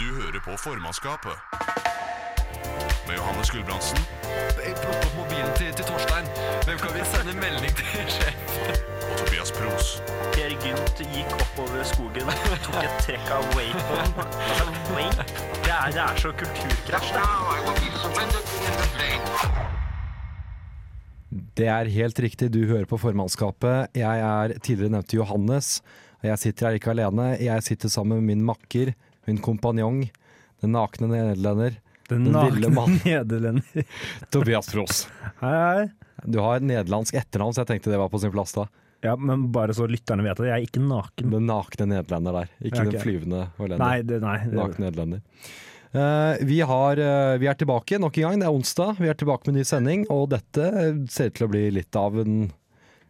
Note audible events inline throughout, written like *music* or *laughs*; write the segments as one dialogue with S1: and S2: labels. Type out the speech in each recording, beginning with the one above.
S1: Du hører på formannskapet. Med Johannes Gulbrandsen
S2: Jeg plukker opp mobilen til, til Torstein. Hvem kan vi sende melding til? *laughs* sjef?
S1: og Tobias Pros.
S3: Per Gynt gikk oppover skogen, tok et trekk av wapen. Altså, wake? Det er, det er så kulturkrasj, det.
S4: Det er helt riktig, du hører på formannskapet. Jeg er tidligere nevnte Johannes, og jeg sitter her ikke alene. Jeg sitter sammen med min makker, min kompanjong, den nakne nederlender,
S5: Den
S4: Den
S5: nakne
S4: lille
S5: *laughs*
S4: mannen.
S5: nederlender.
S4: Tobias Fros.
S5: Hei, hei.
S4: Du har et nederlandsk etternavn, så jeg tenkte det var på sin plass da.
S5: Ja, men bare så lytterne vet det, jeg er ikke naken.
S4: Den nakne nederlender der, ikke
S5: Ja, ok.
S4: den flyvende hollender.
S5: Nei, det, nei. Det,
S4: Nakne nederlender. Eh, vi, har, eh, vi er tilbake nok en gang, det er onsdag. Vi er tilbake med en ny sending, og dette eh, ser ut til å bli litt av en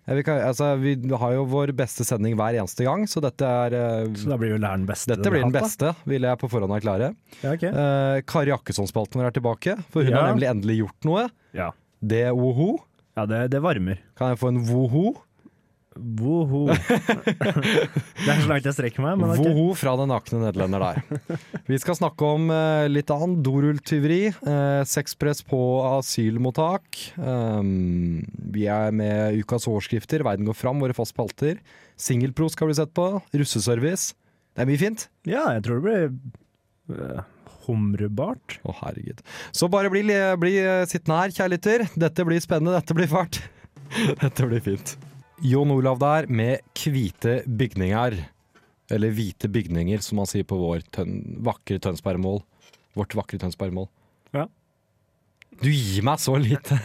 S4: jeg vil ikke- altså, Vi har jo vår beste sending hver eneste gang, så dette er eh,
S5: så da blir jo læren beste.
S4: Dette blir den
S5: hatt,
S4: beste, vil jeg på forhånd erklære.
S5: da. Ja, ok.
S4: Eh, Kari Akkesson-spalten vår er tilbake, for hun
S5: Ja.
S4: har nemlig endelig gjort noe.
S5: ja.
S4: Det er woho.
S5: ja det, det varmer.
S4: Kan jeg få en woho? *laughs*
S5: Woho. det er så langt jeg strekker meg, men ok.
S4: Woho fra den nakne nederlender der.
S5: *laughs*
S4: Vi skal snakke om eh, litt annet. Dorulltyveri, eh, sexpress på asylmottak. Um, vi er med ukas overskrifter, Verden går fram, våre faste spalter. Singelpro skal bli sett på. Russeservice. Det er mye fint.
S5: Ja, jeg tror det blir eh, humrebart.
S4: Å, herregud. Så bare bli, bli eh, sittende her, kjære lytter. Dette blir spennende, dette blir fælt. *laughs* Dette blir fint. Jon Olav der med hvite bygninger. Eller hvite bygninger, som man sier på vår tøn vakre Tønsbergmål. Vårt vakre Tønsbergmål.
S5: Ja.
S4: Du gir meg så lite!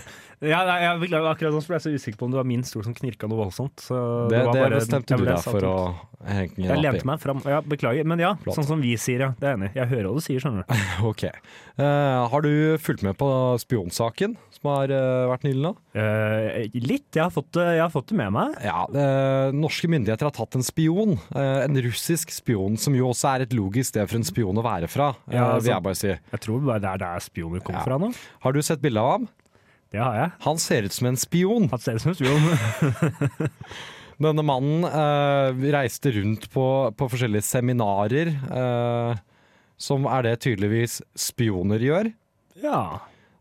S5: Ja, nei, jeg beklager akkurat sånn, for jeg er så usikker på om det var min stol som knirka noe voldsomt. Så
S4: Det,
S5: var
S4: det
S5: bare-
S4: bestemte
S5: jeg
S4: du
S5: ble
S4: deg
S5: satt
S4: for å
S5: ut.
S4: henge
S5: Jeg
S4: opp i.
S5: lente meg fram. Ja, beklager. Men ja,
S4: Flott.
S5: sånn som vi sier, ja. Det er jeg enig. i. Jeg hører hva du sier, skjønner du.
S4: *laughs* Ok. Eh, har du fulgt med på spionsaken som har eh, vært nylig nå?
S5: Eh, litt. Jeg har, fått, det- jeg har fått det med meg.
S4: Ja, eh, Norske myndigheter har tatt en spion. Eh, en russisk spion, som jo også er et logisk sted for en spion å være fra. Eh,
S5: Ja,
S4: vil
S5: sant.
S4: jeg bare si.
S5: Jeg tror bare det er der spioner kommer
S4: Ja.
S5: fra nå.
S4: Har du sett bilde av ham?
S5: Det har jeg.
S4: Han ser ut som en spion.
S5: Han ser ut som en spion. *laughs*
S4: Denne mannen eh, reiste rundt på, på forskjellige seminarer, eh, som er det tydeligvis spioner gjør.
S5: Ja.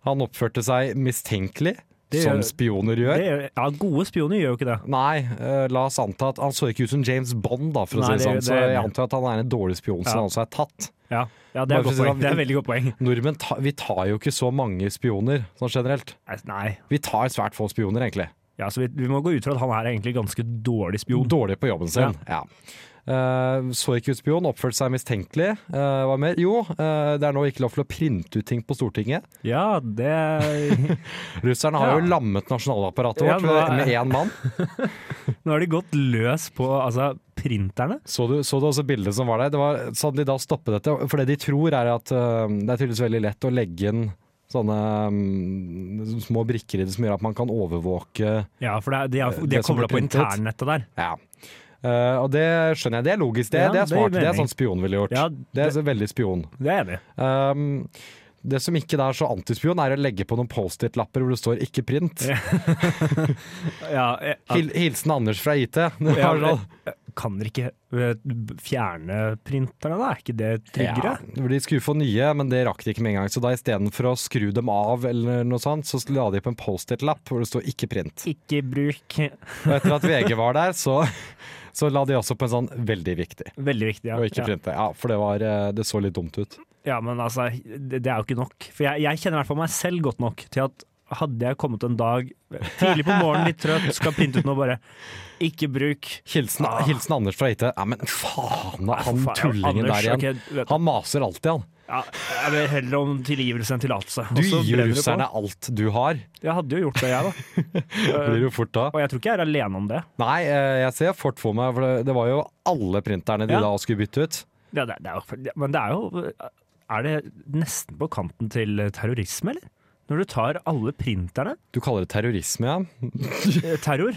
S4: Han oppførte seg mistenkelig,
S5: Det
S4: som
S5: gjør-
S4: spioner gjør.
S5: Det, gjør- ja, gode spioner gjør jo ikke det.
S4: Nei, eh, la oss anta at han så ikke ut som James Bond, da, for å
S5: Nei,
S4: si det sånn.
S5: det-
S4: Så
S5: det-
S4: jeg antar at han er en dårlig spion som
S5: Ja.
S4: han også er tatt.
S5: Ja, ja det, er
S4: Bare for å
S5: godt
S4: si-
S5: poeng. det er et veldig godt poeng.
S4: Nordmenn ta, vi tar jo ikke så mange spioner sånn generelt.
S5: Nei, Nei.
S4: Vi tar svært få spioner, egentlig.
S5: Ja, så vi, vi må gå ut fra at han er egentlig ganske dårlig spion.
S4: Dårlig på jobben sin. Ja. Eh, så ikke ut spion, oppførte seg mistenkelig. Eh, hva mer? Jo, eh, det er nå ikke lov til å printe ut ting på Stortinget.
S5: Ja, det
S4: Russerne har jo
S5: Ja.
S4: lammet nasjonalapparatet
S5: Ja,
S4: vårt
S5: nå er-
S4: med én mann.
S5: *laughs* Nå har de gått løs på altså, printerne.
S4: Så du, så du også bildet som var der? Det var sånn de da stoppet dette. For det de tror er at eh, det er tydeligvis veldig lett å legge inn sånne mm, små brikker i det som gjør at man kan overvåke
S5: Ja, for det, er- de har, de har
S4: Eh, Det som
S5: kobla på
S4: blir printet.
S5: internnettet der.
S4: Ja. Eh, og det skjønner jeg. Det er logisk. Det, det
S5: Ja,
S4: er
S5: det gir
S4: smart. Det, er
S5: mening.
S4: sånn spion ville gjort.
S5: Ja,
S4: det, er så veldig spion.
S5: Det er jeg enig i.
S4: Um, det som ikke er så antispion, er å legge på noen Post-It-lapper hvor det står 'ikke print'.
S5: Ja, jeg- ja.
S4: Hil Hilsen Anders fra IT. *laughs* Det
S5: Ja,
S4: var sånn-
S5: Kan dere ikke eh, b- fjerne printerne, da? Er ikke det
S4: Ja,
S5: tryggere?
S4: de skulle få nye, men det rakk de ikke med en gang. Så da istedenfor å skru dem av, eller noe sånt, så la de på en Post-It-lapp hvor det står 'ikke print'.
S5: Ikke bruk
S4: Og etter at VG var der, så, *laughs* så la de også på en sånn 'veldig viktig'
S5: Veldig viktig, ja.
S4: og ikke
S5: ja.
S4: printe. Ja, for det, var, eh, det så litt dumt ut.
S5: ja men altså, det, det er jo ikke nok. For jeg, jeg kjenner i hvert fall meg selv godt nok til at hadde jeg kommet en dag eh, tidlig på morgenen, litt trøtt, skal printe ut noe, bare ikke bruk
S4: Hilsen,
S5: Ah.
S4: hilsen Anders fra IT. Ja, men faen, da, han
S5: faen,
S4: tullingen
S5: Anders,
S4: der igjen.
S5: ok, vet-
S4: Han maser alltid, han.
S5: ja, Jeg vil heller om tilgivelse enn tillatelse.
S4: Du
S5: Og så
S4: gir jo
S5: brenner det på.
S4: russerne alt du har.
S5: Jeg hadde jo gjort det, jeg, da.
S4: *laughs*
S5: Eh,
S4: Blir jo fort da.
S5: Og jeg tror ikke jeg er alene om det.
S4: Nei, eh, jeg ser fort for meg, for det- det var jo alle printerne de
S5: Ja.
S4: da skulle bytte ut.
S5: det, det, det er jo, men det er jo Er det nesten på kanten til terrorisme, eller? Når du tar alle printerne.
S4: Du kaller det terrorisme, ja? Nei,
S5: Eh, Terror.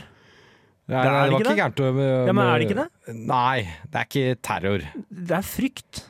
S4: nei,
S5: det
S4: var
S5: ikke
S4: ikke gærent. å- eh,
S5: Ja, men er det ikke
S4: Nei, det er ikke terror.
S5: Det er frykt.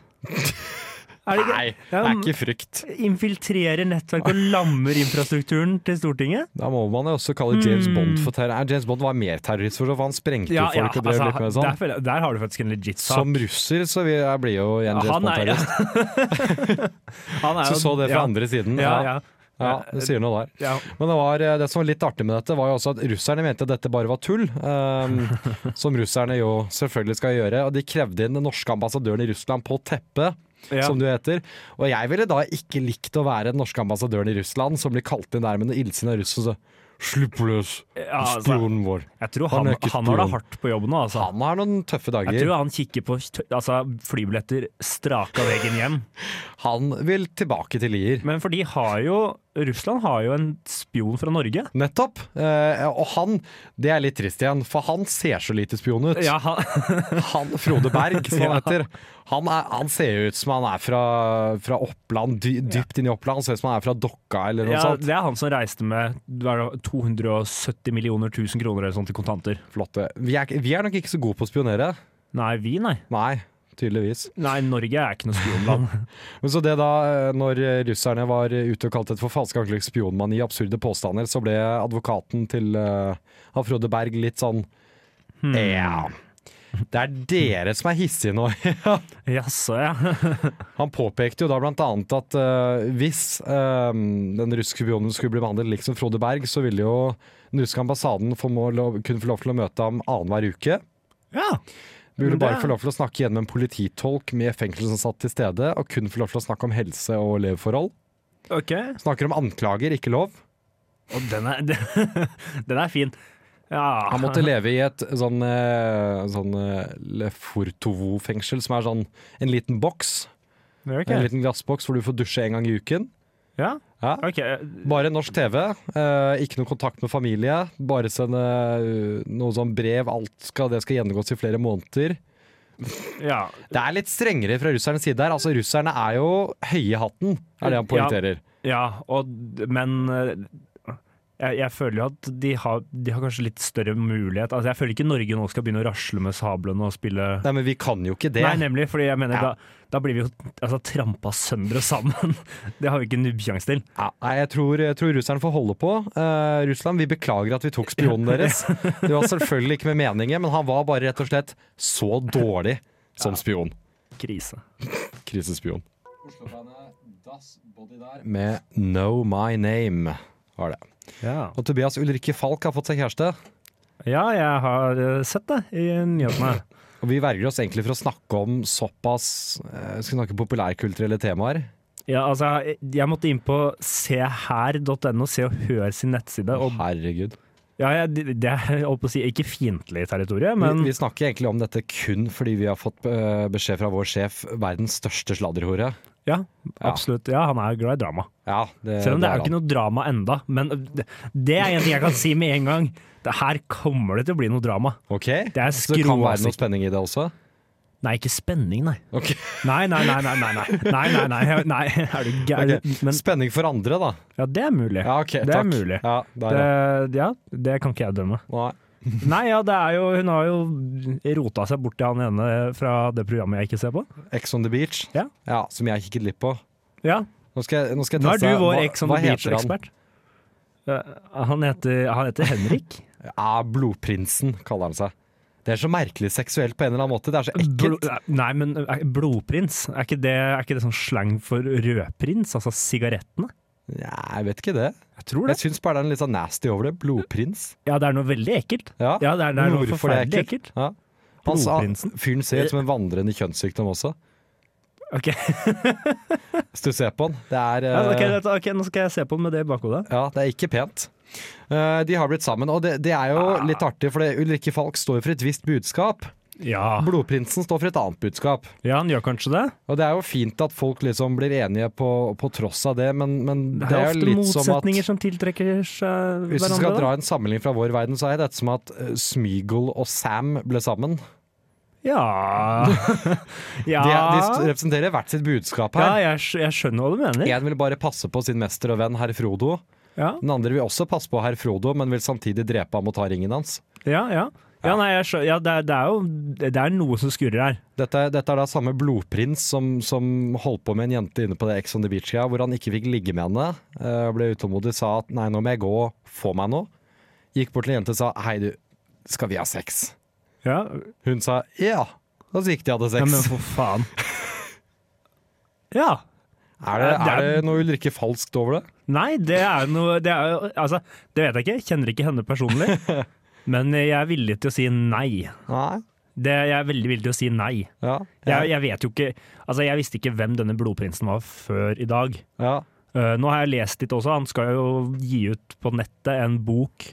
S5: Er det ikke-
S4: Nei, det
S5: Ja,
S4: er
S5: men-
S4: ikke frykt.
S5: Infiltrerer nettverk og lammer infrastrukturen til Stortinget?
S4: Da må man jo også
S5: Hmm.
S4: kalle James Bond for terror. Nei, James Bond var mer terrorist, for så, for han sprengte jo folk og
S5: altså,
S4: drev litt med
S5: der,
S4: sånn.
S5: føler jeg- der har du faktisk en legit sak.
S4: Som russer så vil jeg bli jo igjen James
S5: han er,
S4: Bond-terrorist.
S5: han er
S4: Så
S5: jo-
S4: så det fra
S5: ja.
S4: andre siden.
S5: Ja,
S4: Ja,
S5: ja. Eh,
S4: ja, det sier noe der.
S5: ja.
S4: Men det, var, eh, det som var litt artig med dette, var jo også at russerne mente at dette bare var tull.
S5: *laughs*
S4: ehm, som russerne jo selvfølgelig skal gjøre. Og de krevde inn den norske ambassadøren i Russland på teppet.
S5: Ja.
S4: Som du heter. Og jeg ville da ikke likt å være den norske ambassadøren i Russland som blir kalt inn der med noen illsinna russen. Så, Slipp løs,
S5: Ja, altså.
S4: spionen vår.
S5: Jeg tror
S4: Han
S5: han,
S4: er
S5: han,
S4: ikke
S5: har det
S4: spion.
S5: hardt på jobb nå, altså.
S4: Han har noen tøffe
S5: Jeg
S4: dager.
S5: tror han kikker på t- altså, flybilletter straka veien hjem.
S4: Han vil tilbake til Lier.
S5: Men for de har jo Russland har jo en spion fra Norge.
S4: Nettopp. Eh, og han, det er litt trist igjen, for han ser så lite spion ut.
S5: Ja, han,
S4: Han Frode Berg, som han
S5: Ja.
S4: heter. Han, er, han ser jo ut som han er fra, fra Oppland, dy, dypt inn i Oppland. Han ser ut som han er fra Dokka eller noe
S5: ja,
S4: sånt.
S5: *laughs* det er han som reiste med hva er det, 270 millioner tusen kroner eller sånt i kontanter.
S4: Flotte. Vi er, ikke- vi er nok ikke så gode på å spionere.
S5: Nei, vi, nei.
S4: Nei, tydeligvis.
S5: Nei, Norge er ikke noe spionland.
S4: Men så det da, eh, når russerne var ute og kalte dette for falske anklager, spionmani, absurde påstander, så ble advokaten til eh, han Frode Berg litt sånn
S5: Hmm.
S4: Ja. Det er dere som er hissige nå.
S5: *laughs*
S4: *laughs*
S5: Jaså, ja.
S4: Han påpekte jo da blant annet at eh, hvis eh, den russiske spionen skulle bli behandlet liksom Frode Berg, så ville jo den russiske ambassaden få må- lov, kunne få lov til å møte ham annenhver uke.
S5: *laughs* ja.
S4: Burde
S5: Men det-
S4: bare få lov til å snakke igjen med en polititolk med fengselsansatt til stede, og kun få lov til å snakke om helse og leveforhold.
S5: Ok.
S4: Snakker om anklager, ikke lov.
S5: Og den er, *laughs* den er fin. Ja.
S4: Han
S5: *laughs*
S4: måtte leve i et sånn, eh, sånn eh, Lefortovo-fengsel, som er sånn en liten boks.
S5: Ok.
S4: En liten glassboks hvor du får dusje en gang i uken.
S5: Ja,
S4: Ja.
S5: ok.
S4: Bare norsk TV, eh, ikke noe kontakt med familie. Bare sende eh, noe sånn brev. Alt skal, det skal gjennomgås i flere måneder.
S5: Ja.
S4: Det er litt strengere fra russernes side her. Altså, russerne er jo høye i hatten, er det han poengterer.
S5: ja og, men eh, jeg, jeg føler jo at de har, de har kanskje litt større mulighet. Altså, jeg føler ikke Norge nå skal begynne å rasle med sablene og spille
S4: Nei, men vi kan jo ikke det.
S5: Nei, nemlig, fordi jeg mener
S4: Ja.
S5: da, da blir vi jo altså, trampa sønder og sammen. *laughs* Det har vi ikke nubbsjanse til.
S4: Ja, nei, jeg tror, jeg tror russerne får holde på. Eh, Russland, vi beklager at vi tok
S5: *laughs*
S4: spionen deres. Det var selvfølgelig ikke med meningen, men han var bare rett og slett så dårlig som spion.
S5: Krise.
S4: Krisespion. Med No My Name var det.
S5: Ja,
S4: Og Tobias Ulrikke Falk har fått seg kjæreste.
S5: jeg har eh, sett det i nyhetene.
S4: Og vi verger oss egentlig for å snakke om såpass eh, Skal vi snakke populærkulturelle temaer.
S5: Ja, altså, jeg, jeg måtte inn på seher.no, Se og Hør sin nettside. Og,
S4: Herregud.
S5: ja, jeg, det- det er jeg holdt på å si, ikke fiendtlig territorium, men
S4: vi, vi snakker egentlig om dette kun fordi vi har fått eh, beskjed fra vår sjef, verdens største sladderhore.
S5: ja, absolutt. Ja, han er glad i drama.
S4: Ja, Eh, det,
S5: Selv om det er jo
S4: han.
S5: ikke noe drama enda, men det, det er en ting jeg kan si med en gang. Det her kommer det til å bli noe drama.
S4: Ok,
S5: Det er
S4: Så det kan være
S5: skroavsikt.
S4: noe spenning i det også?
S5: Nei, ikke spenning, nei.
S4: Ok.
S5: Nei, nei, nei, nei, nei, nei, nei, nei, nei, nei. er du
S4: *laughs*
S5: gæren?
S4: Ok.
S5: Men
S4: Spenning for andre, da.
S5: ja, det er mulig.
S4: Ja, ok,
S5: det er
S4: takk.
S5: mulig.
S4: Ja, der,
S5: Det,
S4: ja.
S5: ja, det kan ikke jeg dømme.
S4: Nei.
S5: Nei, ja, det er jo, hun har jo rota seg bort til han ene fra det programmet jeg ikke ser på.
S4: Ex on the beach,
S5: Ja.
S4: som jeg kikket litt på.
S5: Ja,
S4: Nå, skal jeg, nå, skal jeg
S5: nå er du
S4: teste-
S5: vår
S4: Altså, hva-
S5: Ex on
S4: hva
S5: the
S4: heter han?
S5: Beach-ekspert. Ja, Han heter, han heter Henrik.
S4: Ja, Ah, Blodprinsen kaller han seg. Det er så merkelig seksuelt på en eller annen måte. Det er så
S5: Blo,
S4: ekkelt.
S5: nei, men eh, er- blodprins, er ikke, det, er ikke det sånn slang for rødprins? Altså sigarettene?
S4: Nei, jeg vet ikke det.
S5: Jeg tror
S4: Jeg syns bare det er en litt sånn nasty over det. Blodprins.
S5: Ja, det er noe veldig ekkelt.
S4: Ja,
S5: Ja, det er, det er noe
S4: hvorfor det er
S5: forferdelig ekkelt.
S4: Ja. Han sa-
S5: Blodprinsen?
S4: fyren ser ut som en vandrende kjønnssykdom også.
S5: Ok, *laughs*
S4: Eh. Hvis du ser på han. Det er
S5: ja, ok,
S4: eh,
S5: dette- ok, nå skal jeg se på den med det i bakhodet.
S4: Ja, det er ikke pent. Eh, De har blitt sammen, og det, det er jo litt artig, for det- Ulrikke Falk står for et visst budskap.
S5: Ja.
S4: Blodprinsen står for et annet budskap.
S5: ja, han gjør kanskje det.
S4: Og det er jo fint at folk liksom blir enige på, på tross av det, men, men
S5: Det
S4: det,
S5: er,
S4: er jo
S5: ofte
S4: litt som at
S5: motsetninger som tiltrekker seg
S4: Hvis du skal
S5: hverandre. da.
S4: dra en sammenligning fra vår verden, så er det som at eh, Smeagol og Sam ble sammen. *laughs*
S5: Ja Ja,
S4: De, de st- representerer hvert sitt budskap
S5: Ah. ja
S4: her.
S5: jeg, skj- jeg skjønner hva du mener.
S4: Én vil bare passe på sin mester og venn herr Frodo.
S5: Ja,
S4: Den andre vil også passe på herr Frodo, men vil samtidig drepe ham og ta ringen hans.
S5: ja, ja. Ja, nei, jeg skjø- ja det, er, det er jo det er noe som skurrer her.
S4: Dette, dette er da samme blodprins som, som holdt på med en jente inne på det Ex on the Beach-greia, hvor han ikke fikk ligge med henne. eh, ble utålmodig, sa at nei, nå må jeg gå, få meg noe. Gikk bort til en jente og sa hei, du, skal vi ha sex?
S5: Ja,
S4: Hun sa ja. Og så gikk de og hadde
S5: ja
S4: sex.
S5: men for faen. *laughs* Ja.
S4: er, det,
S5: det
S4: er
S5: er-
S4: det noe Ulrikke falskt over det?
S5: Nei, det er jo noe det, er, jo- altså, det vet jeg ikke. Jeg Kjenner ikke henne personlig.
S4: *laughs*
S5: Men jeg er villig til å si nei.
S4: Nei.
S5: Det, jeg er veldig villig til å si nei.
S4: Ja.
S5: Jeg, jeg vet jo ikke Altså, jeg visste ikke hvem denne blodprinsen var før i dag.
S4: ja.
S5: Eh, nå har jeg lest litt også. Han skal jo gi ut på nettet en bok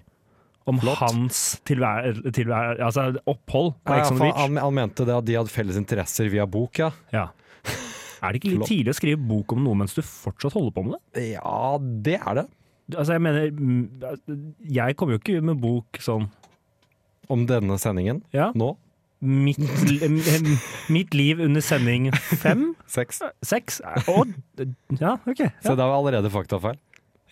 S5: om hans tilvær, tilvær, altså opphold på
S4: Ja,
S5: Ex on the
S4: faen,
S5: Beach.
S4: han, han mente det at de hadde felles interesser via bok, ja. *laughs*
S5: Ja. Er det ikke litt
S4: Flott.
S5: tidlig å skrive bok om noe mens du fortsatt holder på med det?
S4: Ja, det er det.
S5: Du, Altså, jeg mener mm, Jeg kommer jo ikke med bok sånn
S4: Om denne sendingen
S5: Ja.
S4: nå.
S5: Mitt, li- em, em, mitt liv under sending
S4: *laughs*
S5: fem?
S4: Sex.
S5: Seks? Å, ja, OK.
S4: Så
S5: Ja,
S4: det var allerede faktafeil.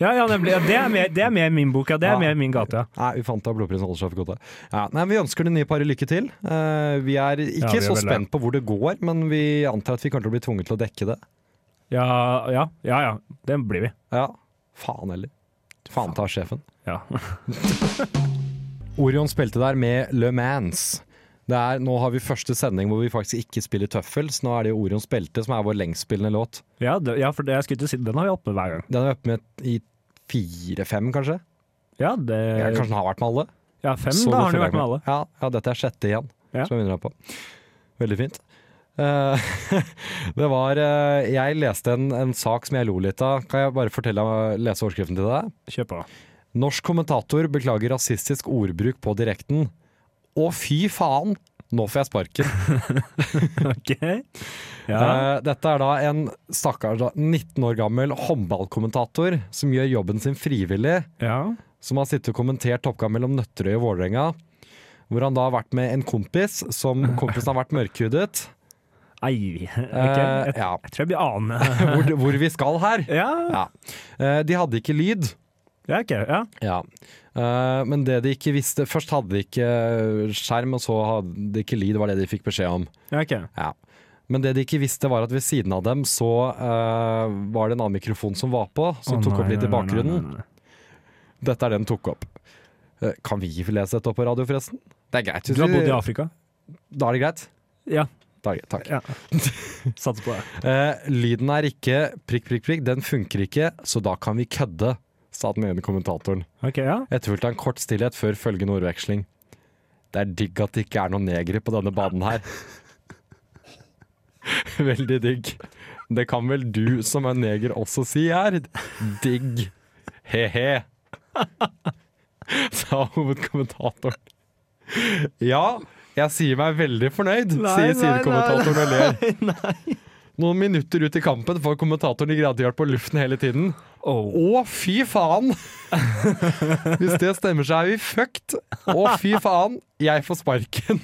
S5: ja, ja nemlig. Ja, det, er med, det er med i min bok, ja. Det
S4: Ja.
S5: er med i min gate, ja.
S4: Nei, vi fant av blodprisen holder seg for gode. Ja, nei, vi ønsker det nye paret lykke til. Eh, vi er
S5: Ja,
S4: ikke
S5: vi er
S4: så
S5: veldig-
S4: spent på hvor det går, men vi antar at vi kommer til å bli tvunget til å dekke det.
S5: Ja, ja. ja, ja. Det blir vi.
S4: Ja, faen heller. Faen ta sjefen.
S5: Ja. *laughs*
S4: Orion spilte der med Le Mans. Det er, nå har vi første sending hvor vi faktisk ikke spiller tøffel, så nå er det jo Orion spilte som er vår lengstspillende låt.
S5: Ja, det, ja, for det jeg skulle til å si, den har vi oppe hver gang.
S4: Den er vi oppe med i fire-fem, kanskje.
S5: Ja, det,
S4: Ja, kanskje den har vært med alle.
S5: ja fem,
S4: Så
S5: da har
S4: det
S5: den
S4: følger
S5: jo vært med alle.
S4: Ja, ja, dette er sjette igjen,
S5: Ja.
S4: som jeg begynner på. Veldig fint. Eh, *laughs* det var eh, Jeg leste en, en sak som jeg lo litt av. Kan jeg bare fortelle, eh, lese overskriften til deg?
S5: Kjør på. *laughs*
S4: Norsk kommentator beklager rasistisk ordbruk på direkten. Å, fy faen! Nå får jeg sparken.
S5: OK. Ja.
S4: Eh, dette er da en stakkars da, 19 år gammel håndballkommentator som gjør jobben sin frivillig.
S5: ja.
S4: som har sittet og kommentert toppkamp mellom Nøtterøy og Vålerenga. Hvor han da har vært med en kompis, som kompisen har vært mørkhudet.
S5: Ei, ok. Jeg,
S4: Eh, ja.
S5: jeg tror jeg blir anet.
S4: hvor, hvor vi skal her.
S5: *laughs* Ja,
S4: Ja. Eh, de hadde ikke lyd.
S5: ja, ok. Ja.
S4: Eh, men det de ikke visste Først hadde de ikke skjerm, og så hadde de ikke lyd, var det de fikk beskjed om.
S5: ja ok.
S4: Ja. Men det de ikke visste, var at ved siden av dem så eh, var det en annen mikrofon som var på, som
S5: Å,
S4: tok
S5: nei,
S4: opp litt i
S5: nei, nei, nei,
S4: bakgrunnen.
S5: nei, nei.
S4: Dette er det den tok opp. Eh, kan vi lese dette opp på radio, forresten? Det er greit. hvis
S5: Du har
S4: vi-
S5: bodd i Afrika?
S4: Da er det greit?
S5: Ja.
S4: Da er det greit, takk.
S5: Ja. Satser på det.
S4: Eh, lyden er ikke prikk, prikk, prikk. Den funker ikke, så da kan vi kødde, sa den ene kommentatoren.
S5: Ok, ja.
S4: Etterfulgt av en kort stillhet før følgende ordveksling. Det er digg at det ikke er noen negere på denne banen her. *laughs* Veldig digg. Det kan vel du som er neger også si her. Digg. He-he. *laughs* Sa hovedkommentatoren. Ja, jeg sier meg veldig fornøyd,
S5: Nei, nei,
S4: sier sidekommentatoren og ler. Noen minutter ut i kampen får kommentatoren i gradehjelp på luften hele tiden.
S5: Oh.
S4: Å, fy faen! Hvis det stemmer, så er vi fucked. Å, fy faen, jeg får sparken.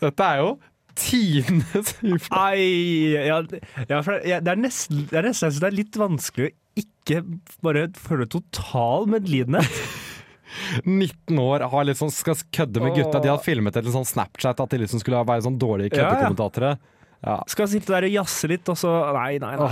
S4: Dette er jo tidenes
S5: Ai, ja, ja, for det, ja, det er nesten det er, nesten, jeg synes det er litt vanskelig å ikke bare føle total medlidenhet.
S4: 19 år har liksom, skal kødde med gutta. De hadde filmet et litt sånn Snapchat at de liksom skulle være sånn dårlige
S5: Ja, ja.
S4: køddekommentatere.
S5: Skal sitte der og jazze litt, og så Nei, nei, nei.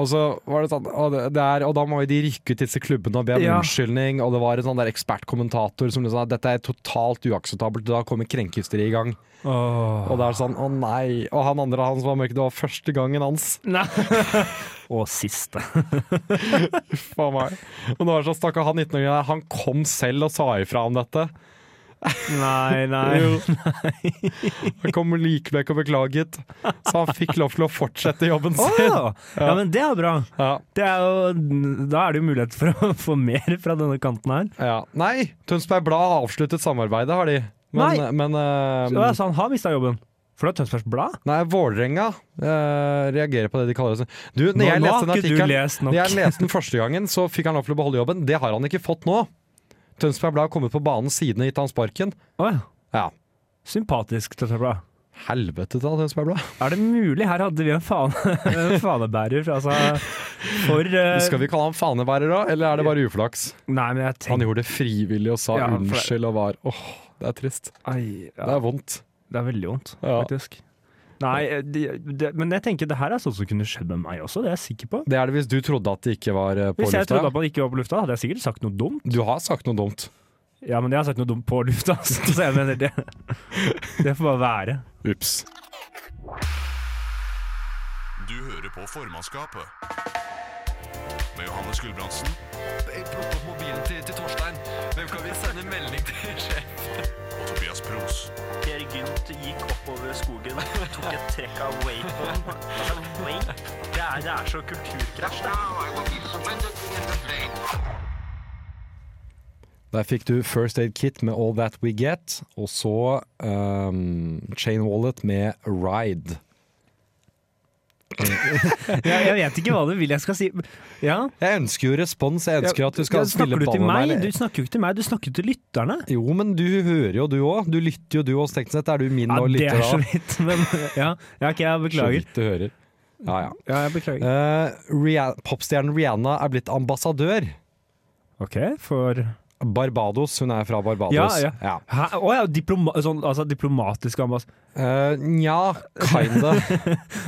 S4: Og så var det sånn Og, det- det er, og da må jo de rykke ut til disse klubbene og be om
S5: Ja.
S4: unnskyldning. Og det var en sånn der ekspertkommentator som liksom, dette er totalt uakseptabelt. Da kommer krenkehysteriet i gang.
S5: Åh.
S4: Og det er sånn, å nei. Og han andre han som var mørk, det var første gangen hans.
S5: Nei. *laughs* Og siste.
S4: Faen meg. Og nå er det sånn, stakkar han 19-åringen der, han kom selv og sa ifra om dette.
S5: Nei, nei.
S4: Jo. Han kom likevel ikke og beklaget, så han fikk lov til å fortsette jobben
S5: Åh,
S4: sin.
S5: *laughs* ja, men det er bra.
S4: Ja,
S5: Det er jo, da er det jo mulighet for å få mer fra denne kanten her.
S4: ja. Nei, Tønsberg Blad har avsluttet samarbeidet, har de. Men,
S5: Nei.
S4: men
S5: Så,
S4: eh,
S5: altså, han har mista jobben. For det er Tønsbergs Blad.
S4: nei, Vålerenga eh, reagerer på det de kaller det. Du,
S5: Nå,
S4: når jeg
S5: nå
S4: leste
S5: har
S4: den
S5: ikke du
S4: artikkelen
S5: lest nok.
S4: Når jeg leste den første gangen, så fikk han lov til å beholde jobben. Det har han ikke fått nå. Tønsberg Blad har kommet på banen siden og gitt han sparken.
S5: Åh, ja.
S4: Ja.
S5: Sympatisk Tønsbergs Blad.
S4: Helvete ta det speilbladet.
S5: Er det mulig? Her hadde vi en, fane, *laughs* en fanebærer. Altså, for eh,
S4: Skal vi kalle han fanebærer da, eller er det bare uflaks?
S5: Nei, men jeg
S4: Han
S5: tenker
S4: gjorde det frivillig og sa
S5: Ja, for det-
S4: unnskyld og var Åh, det er trist.
S5: Ai,
S4: Det
S5: ja,
S4: er vondt.
S5: Det er veldig vondt,
S4: Ja.
S5: faktisk. Nei, eh, det, det, men jeg tenker det her er sånn som kunne skjedd med meg også, det er jeg sikker på.
S4: Det er det hvis du trodde at det ikke var eh, på
S5: Hvis jeg trodde
S4: lufta.
S5: at man ikke var på lufta, hadde jeg sikkert sagt noe dumt.
S4: Du har sagt noe dumt.
S5: Ja, men jeg har sagt noe dumt på lufta, *laughs* så jeg mener det. Det får bare være.
S4: Ups.
S1: Du hører på formannskapet. Med Johannes Gulbrandsen
S2: Plukk opp mobilen til, til Torstein. Hvem kan vi sende melding til? sjef?
S1: og Tobias Pros.
S3: Per Gynt gikk oppover skogen, tok et trekk av waypon. Altså, wayp, det er, det er så kulturkrasj, det.
S4: Der fikk du First Aid Kit med All That We Get, og så ehm, Chain Wallet med Ride.
S5: Jeg, jeg vet ikke hva du vil jeg skal si. Ja.
S4: Jeg ønsker jo respons, jeg ønsker at du skal
S5: Ja,
S4: spille
S5: snakker du
S4: ball
S5: til
S4: med
S5: meg?
S4: meg. eller-
S5: Du snakker jo ikke til meg, du snakker til lytterne.
S4: Jo, men du hører jo du òg. Du lytter jo du òg, teknisk sett. Er du min
S5: Ja,
S4: og
S5: det
S4: lytter
S5: er så
S4: da?
S5: vidt, *laughs* men ja. ja ok, jeg
S4: Så
S5: beklager.
S4: vidt du hører. Ja, ja.
S5: Ja, jeg beklager.
S4: Eh, Rihanna, popstjernen Rihanna er blitt ambassadør.
S5: Ok, for
S4: Barbados, hun er fra Barbados.
S5: Ja, ja. Hæ? Å ja, diploma, sånn, altså diplomatisk ambass...
S4: Eh, nja, kinda.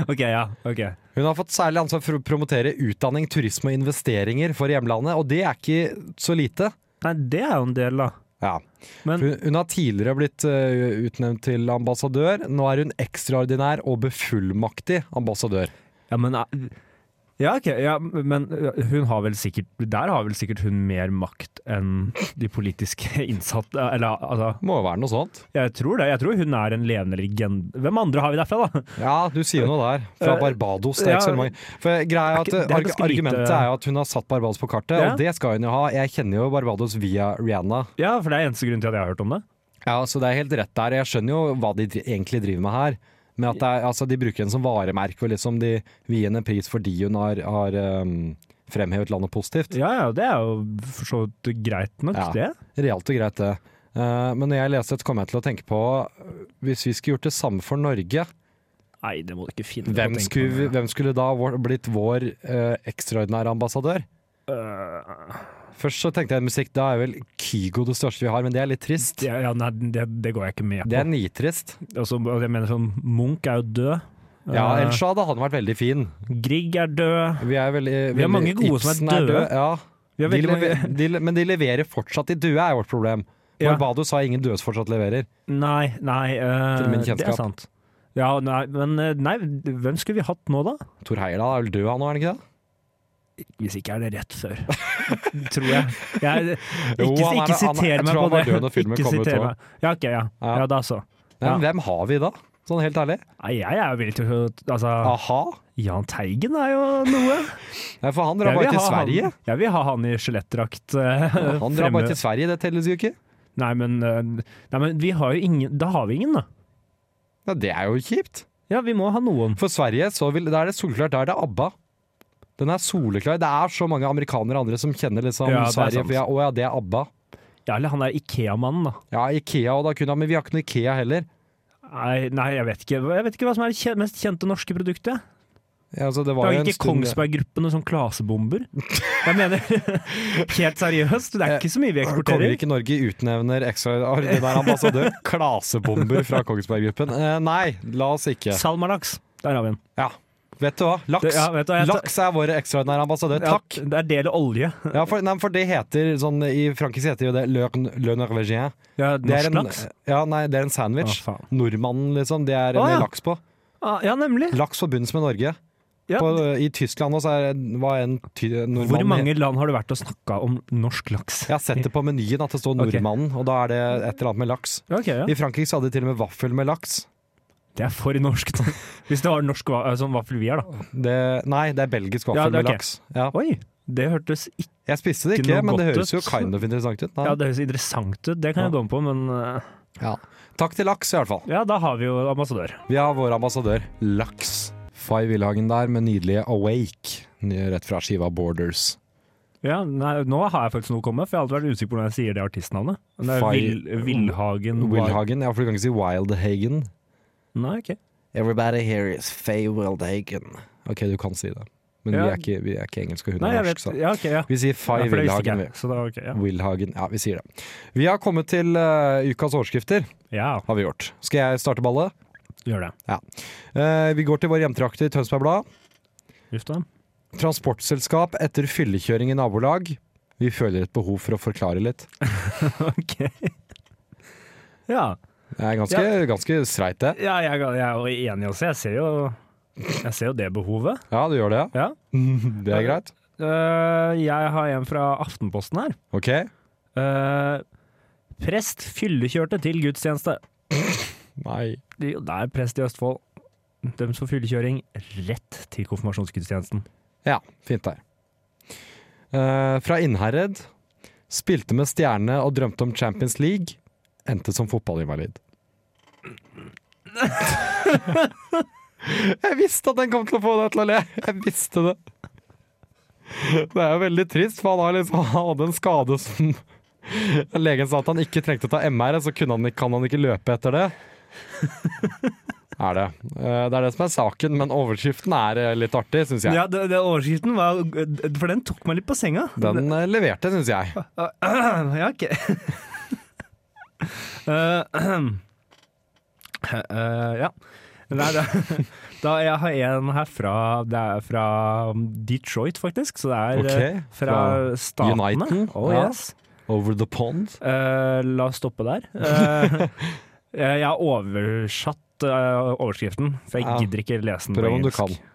S5: Ok, ja. ok.
S4: Hun har fått særlig ansvar for å promotere utdanning, turisme og investeringer for hjemlandet, og det er ikke så lite.
S5: Nei, det er jo en del, da.
S4: Ja.
S5: Men-
S4: hun, hun har tidligere blitt eh, utnevnt til ambassadør. Nå er hun ekstraordinær og befullmaktig ambassadør.
S5: Ja, men eh, Ja, ok, ja, men eh, hun har vel sikkert Der har vel sikkert hun mer makt enn de politiske *laughs* innsatte, eller altså
S4: Må jo være noe sånt.
S5: Jeg tror det. Jeg tror hun er en levende legende. Hvem andre har vi derfra, da?
S4: Ja, du sier noe der. Fra
S5: Eh,
S4: Barbados. Det er ikke
S5: ja.
S4: så mange. For greia er
S5: Er
S4: at
S5: ikke- det er
S4: arg
S5: ganske lite-
S4: Argumentet er jo at hun har satt Barbados på kartet,
S5: Ja.
S4: og det skal hun jo ha. Jeg kjenner jo Barbados via Rihanna,
S5: Ja, for det er eneste grunn til at jeg har hørt om det.
S4: ja, så det er helt rett der. Jeg skjønner jo hva de dri- egentlig driver med her. Men at det er, altså, de bruker henne som varemerke, og liksom de vil henne en pris fordi hun har, har um, fremhevet landet positivt.
S5: Ja, ja, det er jo for så vidt greit nok,
S4: Ja.
S5: det.
S4: Realt og greit, det. Eh, men når jeg leste dette, kom jeg til å tenke på Hvis vi skulle gjort det samme for Norge,
S5: Nei, det må du ikke finne
S4: hvem skulle, hvem skulle da vår, blitt vår eh, ekstraordinære ambassadør?
S5: Øh.
S4: Først så tenkte jeg musikk, da er vel Kygo det største vi har, men det er litt trist.
S5: det, ja, nei, det, det går jeg ikke med på.
S4: Det er nitrist.
S5: Og så- og jeg mener sånn, Munch er jo død.
S4: Ja,
S5: Eh,
S4: ellers så hadde han vært veldig fin.
S5: Grieg er død.
S4: Vi er veldig,
S5: Vi har
S4: veldig-
S5: mange gode som er
S4: Ibsen
S5: døde.
S4: Ja.
S5: Vi har
S4: De
S5: veldig mange-
S4: lever, de, le- men de leverer fortsatt. De døde er vårt problem.
S5: Ja.
S4: Barbados har ingen døde som fortsatt leverer.
S5: Nei, nei eh,
S4: Til min
S5: Det er
S4: kjennskap.
S5: sant. Ja, nei, men eh, nei, hvem skulle vi hatt nå, da?
S4: Tor Heyerdahl er vel død, han nå, er han ikke det?
S5: Hvis ikke er det rett før. *laughs* Tror jeg. jeg ikke
S4: Jo, han er-
S5: ikke
S4: han- jeg
S5: siter meg
S4: tror
S5: på
S4: han var
S5: det.
S4: død når filmen
S5: Ikke
S4: kom ut
S5: siter
S4: også.
S5: meg. Ja, ok, ja.
S4: Ja.
S5: ja da så.
S4: Nei, men
S5: Ja.
S4: Hvem har vi da? Sånn helt ærlig.
S5: Nei, jeg er villig til å Altså,
S4: Aha.
S5: Jahn Teigen er jo noe.
S4: Nei, for han drar
S5: Jeg vil
S4: bare til
S5: ha han-
S4: Sverige.
S5: Jeg vil ha han i skjelettdrakt. eh,
S4: Han
S5: fremme.
S4: drar bare til Sverige, det telles jo ikke.
S5: Nei, men, eh, nei, men vi har jo ingen Da har vi ingen, da.
S4: Ja, det er jo kjipt.
S5: Ja, vi må ha noen.
S4: For Sverige, så vil, da er det soleklart. Da er det ABBA. Den er soleklar. Det er så mange amerikanere og andre som kjenner liksom
S5: Ja, det er
S4: Sverige.
S5: sant.
S4: For ja, å ja, det er ABBA.
S5: Ja, eller han er Ikea-mannen, da.
S4: Ja, Ikea og da kunne han, men vi har ikke noe Ikea heller.
S5: Nei, nei jeg, vet ikke. jeg vet ikke hva som er det kje- mest kjente norske produktet.
S4: Ja, altså, det
S5: Det
S4: var
S5: er
S4: jo
S5: jo
S4: en
S5: ikke
S4: stund
S5: Kongsberg-gruppen og
S4: *laughs*
S5: sånn klasebomber. Jeg mener, helt seriøst,
S4: Eh,
S5: det er ikke så mye vi eksporterer.
S4: Kongeriket Norge utnevner ekstraordinær ambassadør.
S5: *laughs*
S4: Klasebomber fra Kongsberg-gruppen. Eh, nei, la oss ikke.
S5: Salmalaks. Der har vi den.
S4: Ja. Vet du hva?
S5: Det-
S4: Laks.
S5: ja, vet du hva, jeg tar-
S4: Laks er vår ekstraordinære ambassadør. Takk.
S5: Ja, det er del olje.
S4: Ja, for, nei, for det heter sånn I Frankrike heter jo det le, le norvégien.
S5: Ja,
S4: Det er
S5: norsk
S4: en,
S5: laks.
S4: ja, nei, det er en sandwich.
S5: Å, faen.
S4: Nordmannen, liksom. Det er en
S5: Å, ja.
S4: laks på.
S5: Ah, ja, nemlig.
S4: Laks forbundes med Norge.
S5: Ja.
S4: På, I Tyskland også er, var en ty, nordmann
S5: Hvor mange land har du vært og snakka om norsk laks?
S4: Jeg har sett det på menyen at det står
S5: Ok.
S4: Nordmannen, og da er det et eller annet med laks.
S5: Ok, ja.
S4: I Frankrike så hadde de til og med vaffel med laks.
S5: Det er for norsk. *laughs* da. Hvis det var norsk va- eh, sånn vaffel vi er, da.
S4: Det, nei, det er belgisk vaffel
S5: Ja, det er
S4: med
S5: ok.
S4: laks. Ja.
S5: Oi, det hørtes ikke
S4: Jeg spiste det
S5: Ikke
S4: ikke,
S5: noe
S4: men det
S5: godt
S4: høres jo
S5: ut.
S4: kind of interessant ut. Nei.
S5: *laughs* Ja, det høres interessant ut, det kan jeg gå med på, men eh,
S4: Ja. Takk til laks, i hvert fall.
S5: ja, da har vi jo ambassadør.
S4: Vi har vår ambassadør Laks. Fay Wilhagen der med nydelige Awake, ny- rett fra skiva Borders.
S5: Ja, nei, nå har jeg faktisk noe å komme med, for jeg har alltid vært usikker på hvordan jeg sier det artistnavnet. Men det er
S4: Fai-
S5: Vil, Villhagen.
S4: Wilhagen, ja, for du kan ikke si Wildhagen.
S5: Nei, ok.
S4: Everybody here is Faye Wildhagen. Ok, du kan si det. Men
S5: Ja.
S4: vi, er ikke, vi er ikke engelske, hun
S5: Nei,
S4: er
S5: jeg
S4: norsk.
S5: vet.
S4: Så. Mm.
S5: Ja, ok, ja.
S4: Vi sier
S5: Ja,
S4: Faye
S5: for det visste ikke
S4: Wildhagen.
S5: jeg. Så da, ok, ja.
S4: vi. Wildhagen. Ja, vi sier det. Vi har kommet til eh, ukas overskrifter,
S5: ja,
S4: har vi gjort. Skal jeg starte ballet?
S5: gjør det.
S4: Ja. Eh, vi går til vår hjemtrakter Tønsberg Blad.
S5: Uff da. *laughs*
S4: Transportselskap etter fyllekjøring i nabolag. Vi føler et behov for å forklare litt.
S5: Ok. Ja.
S4: Det er ganske, ganske streit, det.
S5: ja, jeg, jeg er jo enig også. Jeg ser jo, jeg ser jo det behovet.
S4: Ja, du gjør det, ja?
S5: Ja.
S4: Det er greit.
S5: Eh, jeg har en fra Aftenposten her.
S4: Ok.
S5: Eh, prest fyllekjørte til gudstjeneste.
S4: Nei.
S5: Jo, Det er prest i Østfold. Dømt for fyllekjøring rett til konfirmasjonsgudstjenesten.
S4: Ja, fint der. Eh, fra Innherred. Spilte med stjerne og drømte om Champions League. Endte som fotballinvalid. *laughs* Jeg visste at den kom til å få deg til å le! Jeg visste det. Det er jo veldig trist, for han, har liksom, han hadde en skade som *laughs* Legen sa at han ikke trengte å ta MR, så kunne han, ikke- kan han ikke løpe etter det. Er det. Eh, Det er det som er saken, men overskriften er eh, litt artig, syns jeg.
S5: det, det overskriften var For den tok meg litt på senga.
S4: Den eh, leverte, syns jeg.
S5: *clears throat* Ja, ok. *clears throat* Eh, *clears throat* eh, ja. Nei, da, *laughs* da jeg har en her fra Det er fra Detroit, faktisk. Så det er eh,
S4: Ok,
S5: fra
S4: fra
S5: statene.
S4: Uniten,
S5: Oh,
S4: ja.
S5: yes.
S4: Over the pond.
S5: Eh, la oss stoppe
S4: *laughs*
S5: der. Eh, jeg har oversatt eh, overskriften, for jeg
S4: Ja.
S5: gidder ikke lese den på
S4: Prøv om du
S5: engelsk.
S4: kan.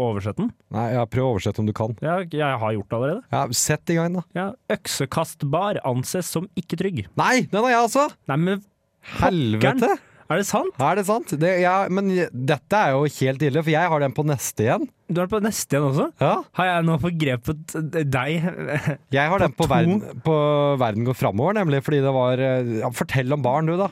S5: Oversett den?
S4: Nei, ja, prøv å oversette om du kan.
S5: Ja, jeg har gjort det allerede.
S4: Ja, sett i gang, da.
S5: Ja. Øksekastbar anses som ikke trygg.
S4: Nei, den har jeg også!
S5: Nei, men
S4: Helvete!
S5: er det sant?
S4: Er det sant? Det, ja, men dette er jo helt ille, for jeg har den på neste igjen.
S5: Du er på neste igjen også.
S4: Ja,
S5: Har jeg nå forgrepet deg? *laughs*
S4: jeg har den på
S5: to?
S4: verden, på verden går framover, nemlig fordi det var eh, ja, Fortell om barn, du, da.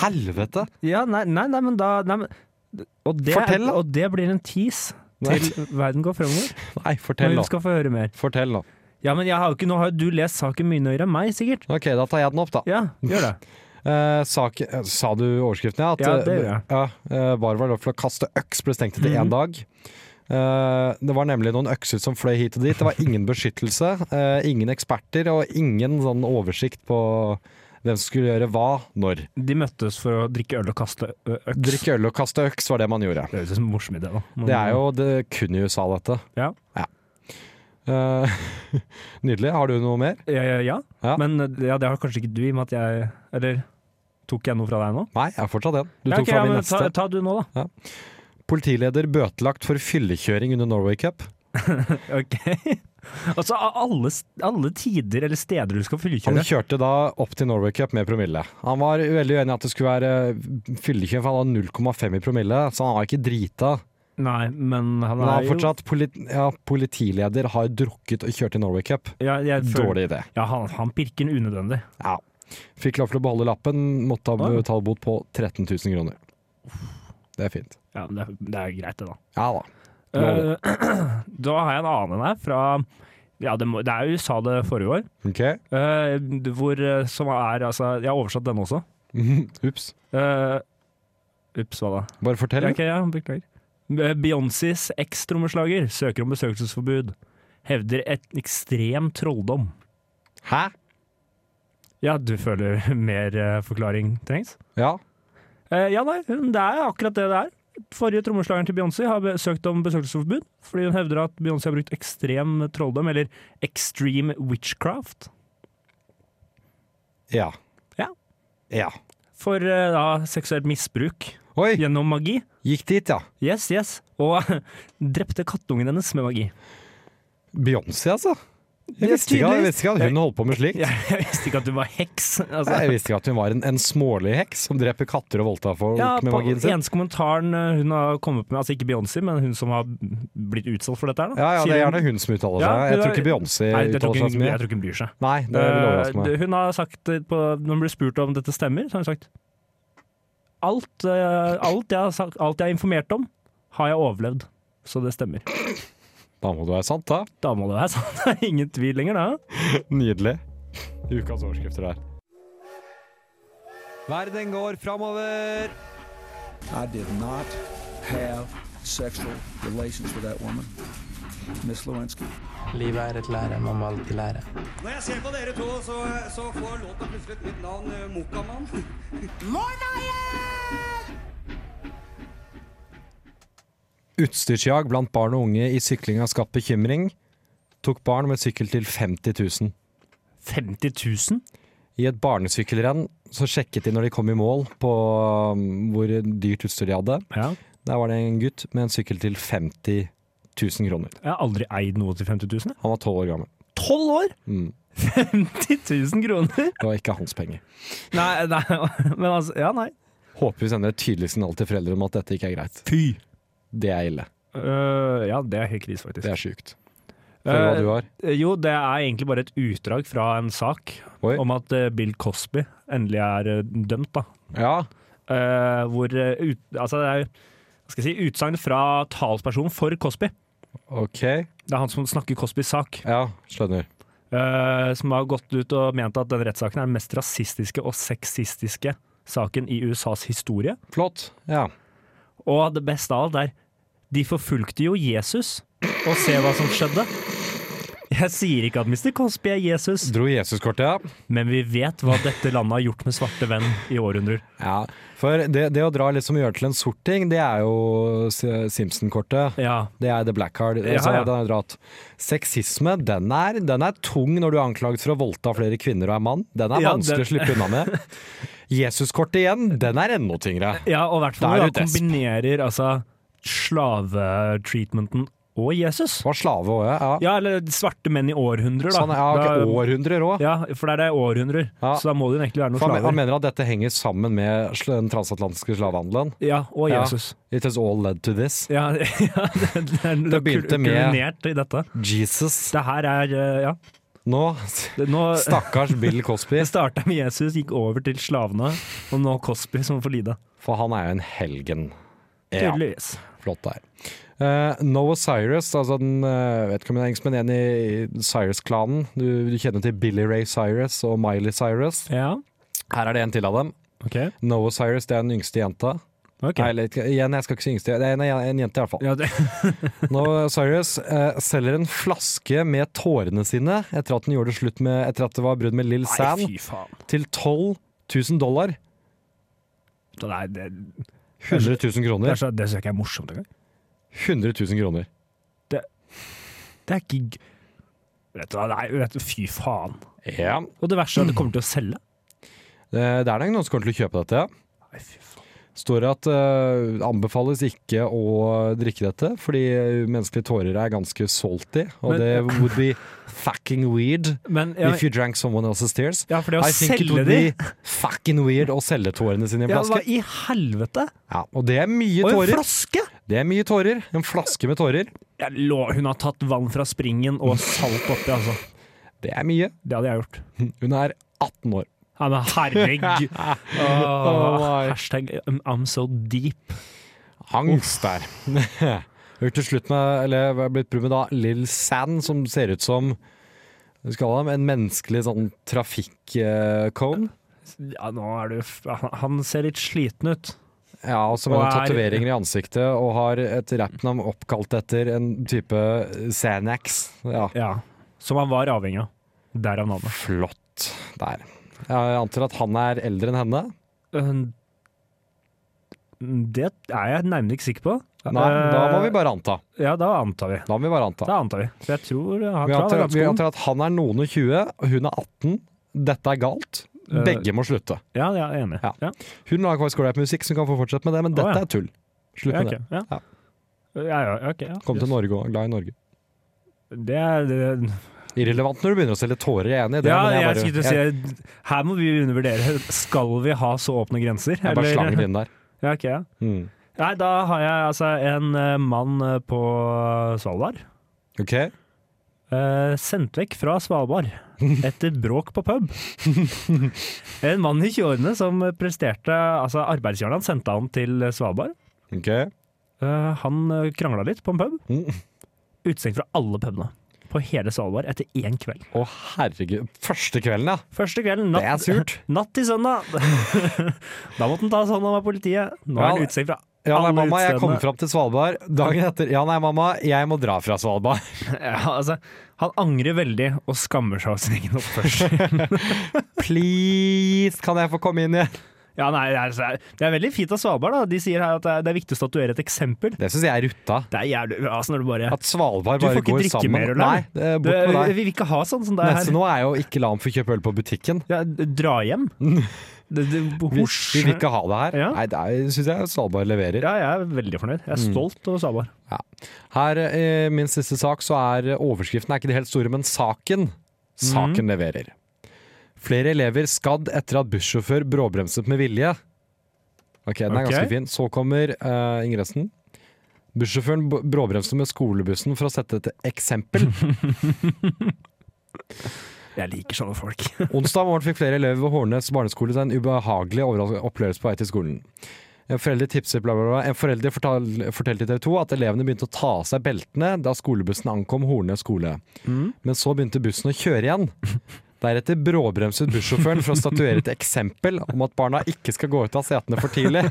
S4: Helvete!
S5: Ja, nei, nei, nei men da nei, men, og, det,
S4: Fortell, da.
S5: og det blir en tease
S4: Nei.
S5: til verden går fremover.
S4: Nei, fortell
S5: Men vi
S4: nå.
S5: skal få høre mer.
S4: Fortell nå.
S5: Ja, men jeg har jo ikke, Nå har jo du lest saken mye nøyere enn meg, sikkert.
S4: Ok, da tar jeg den opp, da.
S5: Ja, gjør det.
S4: Eh, sak, eh, sa du overskriften, ja? At,
S5: Ja, det
S4: eh,
S5: gjør jeg. Mhm.
S4: ja, eh, Var var lov til å kaste øks, ble stengt etter én dag. Eh, det var nemlig noen økser som fløy hit og dit. Det var ingen beskyttelse, eh, ingen eksperter og ingen sånn oversikt på hvem som skulle gjøre hva når.
S5: De møttes for å drikke øl og kaste ø, øks.
S4: Drikke øl og kaste øks var det man gjorde.
S5: Det høres ut som en morsom idé, da. Men-
S4: Det er jo det kun i USA, dette.
S5: Ja.
S4: Eh, *laughs* nydelig. Har du noe mer?
S5: Ja, ja, ja.
S4: Ja.
S5: Men ja, det har kanskje ikke du, i og med at jeg Eller tok jeg noe fra deg nå?
S4: Nei, jeg har fortsatt en. Du
S5: Ja,
S4: tok
S5: ok,
S4: fra
S5: ja,
S4: min
S5: men
S4: neste.
S5: Ta, ta du nå, da.
S4: Politileder bøtelagt for fyllekjøring under Norway Cup.
S5: Ok. *laughs* altså, av alle, alle tider eller steder du skal
S4: Han
S5: fyllekjøre
S4: kjørte da opp til Norway Cup med promille. Han var veldig uenig i at det skulle være fyllekjøring, for han hadde 0,5 i promille, så han var ikke drita.
S5: Nei, men han
S4: Men han
S5: er
S4: har
S5: jo
S4: fortsatt politi ja, politileder har drukket og kjørt til Norway Cup.
S5: ja, jeg føler-
S4: Dårlig idé.
S5: Ja, han, han pirker den unødvendig.
S4: Ja. Fikk lov til å beholde lappen, måtte ha
S5: Ah.
S4: betalt bot på 13 000 kroner. Det er fint.
S5: Ja, men det, det er greit, det, da.
S4: Ja da. Lov.
S5: Eh, *clears throat* da har jeg en annen her, fra Ja, det, må, det er USA det forrige år.
S4: Ok. *laughs*
S5: eh, hvor, eh, som er altså Jeg har oversatt denne også.
S4: Ups.
S5: Eh, Ups, hva da?
S4: Bare fortell.
S5: Ja, ok, ja, beklager. Beyoncés eks-trommeslager søker om besøkelsesforbud. Hevder et ekstrem trolldom.
S4: Hæ?
S5: Ja, du føler mer eh, forklaring trengs?
S4: Ja.
S5: Eh, ja, nei, hun- det er akkurat det det er. Forrige trommeslageren til Beyoncé har be- søkt om besøkelsesforbud fordi hun hevder at Beyoncé har brukt ekstrem trolldom, eller extreme witchcraft,
S4: Ja.
S5: Ja.
S4: Ja.
S5: for eh, da seksuelt misbruk
S4: Oi,
S5: gjennom magi.
S4: gikk dit, ja.
S5: Yes, yes. Og *laughs* drepte kattungen hennes med magi.
S4: Beyoncé, altså.
S5: Ja,
S4: Jeg visste ikke, jeg
S5: *laughs* tydeligvis.
S4: visste ikke at hun holdt på med slikt.
S5: Jeg, jeg visste ikke at du var heks. Altså.
S4: Nei, Jeg visste ikke at hun var en, en smålig heks som dreper katter og voldtar folk
S5: Ja,
S4: med
S5: på
S4: magien sin.
S5: eneste kommentaren eh, hun har kommet med, altså ikke Beyoncé, men hun som har blitt utsatt for dette her, da.
S4: Ja, ja, Det er
S5: sier hun-
S4: gjerne hun som uttaler seg.
S5: Ja,
S4: jeg
S5: det
S4: tror
S5: er-
S4: ikke Beyoncé
S5: Nei, det tror
S4: uttaler seg
S5: ikke,
S4: så
S5: hun- jeg
S4: mye.
S5: tror ikke hun bryr seg.
S4: Nei, det vil overraske
S5: Eh,
S4: meg.
S5: det- hun har sagt, eh, på, når hun ble spurt om dette stemmer, så har hun sagt alt, eh, alt, jeg har sagt, alt jeg har informert om, har jeg overlevd. Så det stemmer.
S4: Da må det være sant, da.
S5: Da må det være *laughs* sant. Det er ingen tvil lenger, da.
S4: Nydelig. Ukas overskrifter der. Verden går framover.
S6: I did not have sexual relations with that woman, Miss Lewinsky.
S7: Livet er et lære, man må alltid lære.
S8: Når jeg ser på dere to, så, så får låta plutselig et nytt navn. eh, Mokamann.
S4: Utstyrsjag blant barn og unge i sykling har skapt bekymring. Tok barn med sykkel til 50 000.
S5: 50 000?
S4: I et barnesykkelrenn så sjekket de når de kom i mål på um, hvor dyrt utstyr de hadde.
S5: Ja.
S4: Der var det en gutt med en sykkel til 50 000 kroner.
S5: Jeg har aldri eid noe til 50 000. jeg.
S4: Han var tolv år gammel.
S5: 12 år!
S4: Mm.
S5: *laughs* 50 000 kroner!
S4: Det var ikke hans penger.
S5: Nei, nei, men altså Ja, nei.
S4: Håper vi sender et tydelig signal til foreldre om at dette ikke er greit.
S5: Fy!
S4: Det er ille.
S5: Øh, ja, det er helt krise, faktisk.
S4: Det er sjukt. Følg hva
S5: Eh,
S4: du har.
S5: Jo, det er egentlig bare et utdrag fra en sak
S4: Oi.
S5: om at eh, Bill Cosby endelig er eh, dømt, da.
S4: Ja.
S5: Eh, hvor eh, ut, Altså, det er hva skal jeg si, utsagn fra talspersonen for Cosby.
S4: OK.
S5: Det er han som snakker Cosbys sak.
S4: Ja, skjønner.
S5: eh, som har gått ut og ment at den rettssaken er den mest rasistiske og sexistiske saken i USAs historie.
S4: Flott. Ja.
S5: Og det beste av alt er de forfulgte jo Jesus, og se hva som skjedde. Jeg sier ikke at Mr. Cosby er Jesus,
S4: Dro Jesuskortet, ja.
S5: men vi vet hva dette landet har gjort med svarte venn i århundrer.
S4: Ja, for det, det å dra liksom gjøre til en sort ting, det er jo S- Simpson-kortet.
S5: Ja,
S4: Det er the black card.
S5: Ja,
S4: Altså,
S5: ja.
S4: Den er dratt. Sexisme, den er, den er tung når du er anklaget for å voldta flere kvinner og er mann. Den er
S5: Ja,
S4: vanskelig
S5: den-
S4: å slippe unna
S5: *laughs*
S4: med. Jesuskortet igjen, den er enda tyngre.
S5: ja og i hvert
S4: Da
S5: fall
S4: er
S5: når
S4: du
S5: du da
S4: desp.
S5: kombinerer altså, slavetreatmenten og Jesus.
S4: Var slave òg, ja. ja.
S5: Ja, eller svarte menn i århundrer, da.
S4: Sånn, ja ok,
S5: Da-
S4: Århundrer òg.
S5: ja, for det er det århundrer,
S4: Ja.
S5: så da må det jo egentlig være noen
S4: Han, han
S5: slaver.
S4: mener at dette henger sammen med sl- den transatlantiske slavehandelen.
S5: Ja, og
S4: Ja.
S5: Jesus.
S4: It has all led to this.
S5: Ja, *laughs* ja, det, det, er- det,
S4: begynte
S5: er kul-
S4: med-
S5: kulinert i dette.
S4: Jesus.
S5: Det her er eh, Ja.
S4: Nå *laughs*
S5: Det, nå
S4: Stakkars Bill Cosby.
S5: det starta med Jesus, gikk over til slavene, og nå Cosby som får lide.
S4: For han er jo en helgen. Ja.
S5: Tydeligvis.
S4: Flott der. Eh, Noah Cyrus, altså den eh, vet ikke om det er engelsk, men en i i Cyrus-klanen. Du, du kjenner til Billy Ray Cyrus og Miley Cyrus.
S5: Ja.
S4: Her er det en til av dem.
S5: OK.
S4: Noah Cyrus, det er den yngste jenta.
S5: ok.
S4: Nei, eller, ikke- igjen, jeg skal ikke si yngste. Det er en, en jente, iallfall.
S5: Ja, det, *laughs*
S4: Noah Cyrus eh, selger en flaske med tårene sine etter at den gjorde det slutt med Etter at det var brudd med Lill Sam,
S5: nei, fy faen.
S4: til 12 000 dollar.
S5: Nei, det,
S4: 100 000
S5: det, er
S4: kroner.
S5: så, det synes jeg ikke er morsomt engang.
S4: 100 000 kroner.
S5: Det er ikke g- Vet du hva, nei, vet du, fy faen.
S4: Ja.
S5: Og det verste er at det kommer til å selge.
S4: Eh, Det er nok noen som kommer til å kjøpe dette. ja.
S5: Nei, fy faen.
S4: står det at eh, anbefales ikke å drikke dette, fordi menneskelige tårer er ganske salty, og
S5: Men-
S4: det would be fucking weird
S5: Men *laughs* ja,
S4: if you drank someone else's tears.
S5: ja, for det å
S4: I think it
S5: selge
S4: would
S5: de
S4: be fucking weird å selge tårene sine i en
S5: *laughs* ja, Hva
S4: flaske.
S5: i helvete?
S4: Ja, og det er mye
S5: Og en
S4: tårer.
S5: flaske!
S4: Det er mye tårer. En flaske med tårer.
S5: Jeg lå, hun har tatt vann fra springen og salt oppi, altså.
S4: Det er mye.
S5: Det hadde jeg gjort.
S4: Hun er 18 år.
S5: Ja, men
S4: *laughs*
S5: herregud.
S4: Oh
S5: Åh, hashtag um, I'm so deep.
S4: Angst der. *laughs* Hun til slutt med, eller jeg er blitt brud med da, Lill Sand, som ser ut som hva skal jeg kalle dem, en menneskelig sånn eh, trafikk-cone.
S5: Ja, nå er du f- han- Han ser litt sliten ut.
S4: Ja, og som
S5: Og
S4: har
S5: er-
S4: tatoveringer i ansiktet og har et rappnavn oppkalt etter en type Xanax. Ja,
S5: Ja. Som han var avhengig av. Derav navnet.
S4: flott der. Jeg antar at han er eldre enn henne.
S5: Um, Det er jeg nærmere ikke sikker på.
S4: Nei, da må vi
S5: Eh,
S4: bare anta.
S5: Ja, da antar vi.
S4: Da må vi bare anta.
S5: Da antar vi. For jeg tror han
S4: Vi
S5: tror han er
S4: antar, vi
S5: ganske ung.
S4: antar at han er noen og 20, og hun er 18. Dette er galt.
S5: Eh,
S4: Begge må slutte.
S5: Ja, jeg er enig.
S4: Ja.
S5: Ja.
S4: Hun lager faktisk rap-musikk, så hun kan få fortsette med det, men
S5: Å, ja.
S4: dette er tull. Slutt
S5: Ja,
S4: med
S5: ok,
S4: det.
S5: ja.
S4: Ja.
S5: Ja, ja, ok, ja.
S4: Kom til Norge og glad i Norge.
S5: Det er det,
S4: Irrelevant når du begynner å selge tårer, jeg er enig i det.
S5: Ja,
S4: men
S5: jeg,
S4: bare-
S5: skulle
S4: jeg,
S5: til å si Her må vi undervurdere. Skal vi ha så åpne grenser?
S4: jeg bare
S5: eller?
S4: slang det inn der.
S5: Ja, ok, ja.
S4: Mm.
S5: Nei, da har jeg altså en eh, mann eh, på Svalbard.
S4: Ok.
S5: Eh, sendt vekk fra Svalbard etter bråk på
S4: *laughs*
S5: pub. En mann i 20-årene som presterte Altså, arbeidsgiveren hans sendte han til Svalbard.
S4: ok.
S5: Eh, han krangla litt på en pub.
S4: Mm.
S5: Utestengt fra alle pubene. på på hele Svalbard etter én kveld.
S4: Å, herregud. Første kvelden, ja.
S5: Første kvelden,
S4: Det er
S5: natt,
S4: surt.
S5: *laughs* natt til søndag. da måtte han tas hånd om av politiet. Nå
S4: Ja,
S5: er han utestengt fra
S4: Ja, nei,
S5: alle
S4: mamma, jeg kom
S5: utestedene.
S4: fram til Svalbard. Dagen etter Ja, nei, mamma, jeg må dra fra Svalbard.
S5: *laughs*
S4: *laughs*
S5: Ja, altså, han angrer veldig og skammer seg av sin egen oppførsel.
S4: Please, kan jeg få komme inn igjen?
S5: ja, nei, det er- altså, det er veldig fint av Svalbard. da. De sier her at eh, det er- det er viktig å statuere et eksempel.
S4: Det syns jeg er rutta.
S5: Det er jævlig bra altså, når du bare
S4: At Svalbard
S5: Du får
S4: bare
S5: ikke
S4: går
S5: drikke
S4: sammen.
S5: mer, eller?
S4: Nei, det er
S5: du,
S4: bort med deg.
S5: Vi vil ikke ha sånn som det er
S4: Neste
S5: her.
S4: nå er jo ikke la ham få kjøpe øl på butikken.
S5: Ja, dra
S4: *laughs*
S5: hjem. Det, det,
S4: Vi,
S5: hosj.
S4: vi vil ikke ha det her.
S5: Ja.
S4: Nei, det syns jeg Svalbard leverer.
S5: Ja, jeg er veldig fornøyd.
S4: Mm.
S5: Jeg er stolt over Svalbard.
S4: Her, eh, min siste sak, så er overskriften er ikke det helt store, men saken. Saken leverer. Flere elever skadd etter at bussjåfør bråbremset med vilje. Ok, den er
S5: Ok.
S4: ganske fin. Så kommer eh, ingressen. Bussjåføren b- bråbremste med skolebussen for å sette et eksempel.
S5: Jeg liker sånne folk. *laughs*
S4: Onsdag morgen fikk flere elever ved Hårnes barneskole en ubehagelig overras- opplevelse på vei til skolen. En forelder tipset bla, bla, bla. En forelder fortal- fortalte til TV 2 at elevene begynte å ta av seg beltene da skolebussen ankom Hornes skole. Men så begynte bussen å kjøre igjen. Deretter bråbremset bussjåføren for å statuere et eksempel om at barna ikke skal gå ut av setene for tidlig.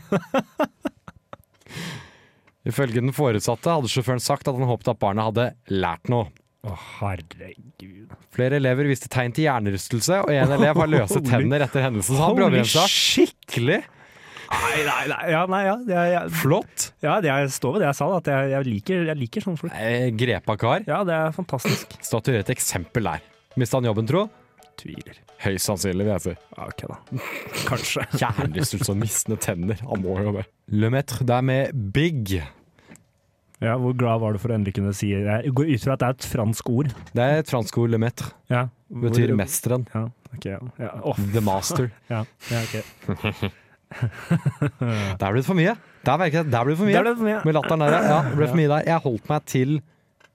S4: Ifølge den foresatte hadde sjåføren sagt at han håpet at barna hadde lært noe.
S5: Å, herregud.
S4: Flere elever viste tegn til hjernerystelse, og en elev har løse
S5: Holy-
S4: tenner etter hendelsen. Så han
S5: Holy
S4: bråbremsa skikkelig
S5: Nei, nei, nei. Ja, nei, ja. Jeg, jeg,
S4: flott.
S5: ja, det- jeg står ved det jeg sa, da, at jeg, jeg, liker, jeg liker sånne folk.
S4: Eh, Grepa kar.
S5: Ja, det er fantastisk.
S4: Statuere et eksempel der. Mista han jobben, tro?
S5: Tviler.
S4: Høyst sannsynlig, vil jeg si.
S5: Ja, ok, da. *laughs* Kanskje.
S4: Hjernerystelse og mistende tenner. Han må jo det. Le Maître, det er med Big.
S5: Ja, Hvor glad var du for å endelig kunne si det? Jeg går ut fra at det er et fransk ord.
S4: Det er et fransk ord, Le Maître.
S5: Ja.
S4: Betyr Mm.
S5: Hvor-
S4: mesteren.
S5: Ja, ok. Ja. Ja. Å,
S4: The master.
S5: ja. ja
S4: *laughs*
S5: ok.
S4: Der ble det for mye. Der merket jeg der ble det for
S5: Det er
S4: mye.
S5: det for meg.
S4: Med latteren der, ja. ja. Det ble for mye der. Jeg holdt meg til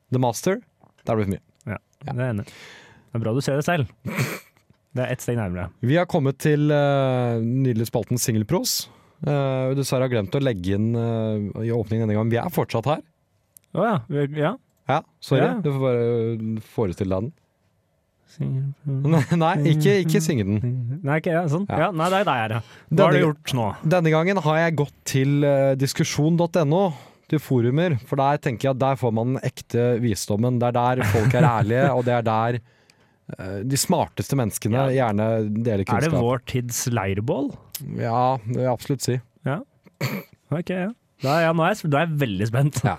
S4: The master. Der ble det for mye.
S5: Det er jeg enig. i. Det er bra du ser det selv. Det er ett steg nærmere.
S4: Vi har kommet til uh, nydelig spalten Singelpros. Eh, dessverre har jeg glemt å legge inn eh, i åpningen denne gangen. Vi er fortsatt her.
S5: Å ja. vi- ja.
S4: Ja, Sorry,
S5: Ja.
S4: du får bare eh, forestille deg
S5: Singer-
S4: den. *laughs* Nei, ikke, ikke synge den.
S5: Nei, ikke ja, sånn.
S4: Ja.
S5: Ja. nei, det er der,
S4: Denne-
S5: ja. Mm. Hva har du gjort nå?
S4: Denne gangen har jeg gått til eh, diskusjon.no, til forumer. For der tenker jeg at der får man den ekte visdommen. Det er der folk er ærlige, og det er der eh, de smarteste menneskene gjerne deler
S5: Er det
S4: kunnskap.
S5: vår tids leirbål?
S4: Ja, det vil jeg absolutt si.
S5: Ok, ja. Da, ja nå, er jeg, da er jeg veldig spent.
S4: Ja.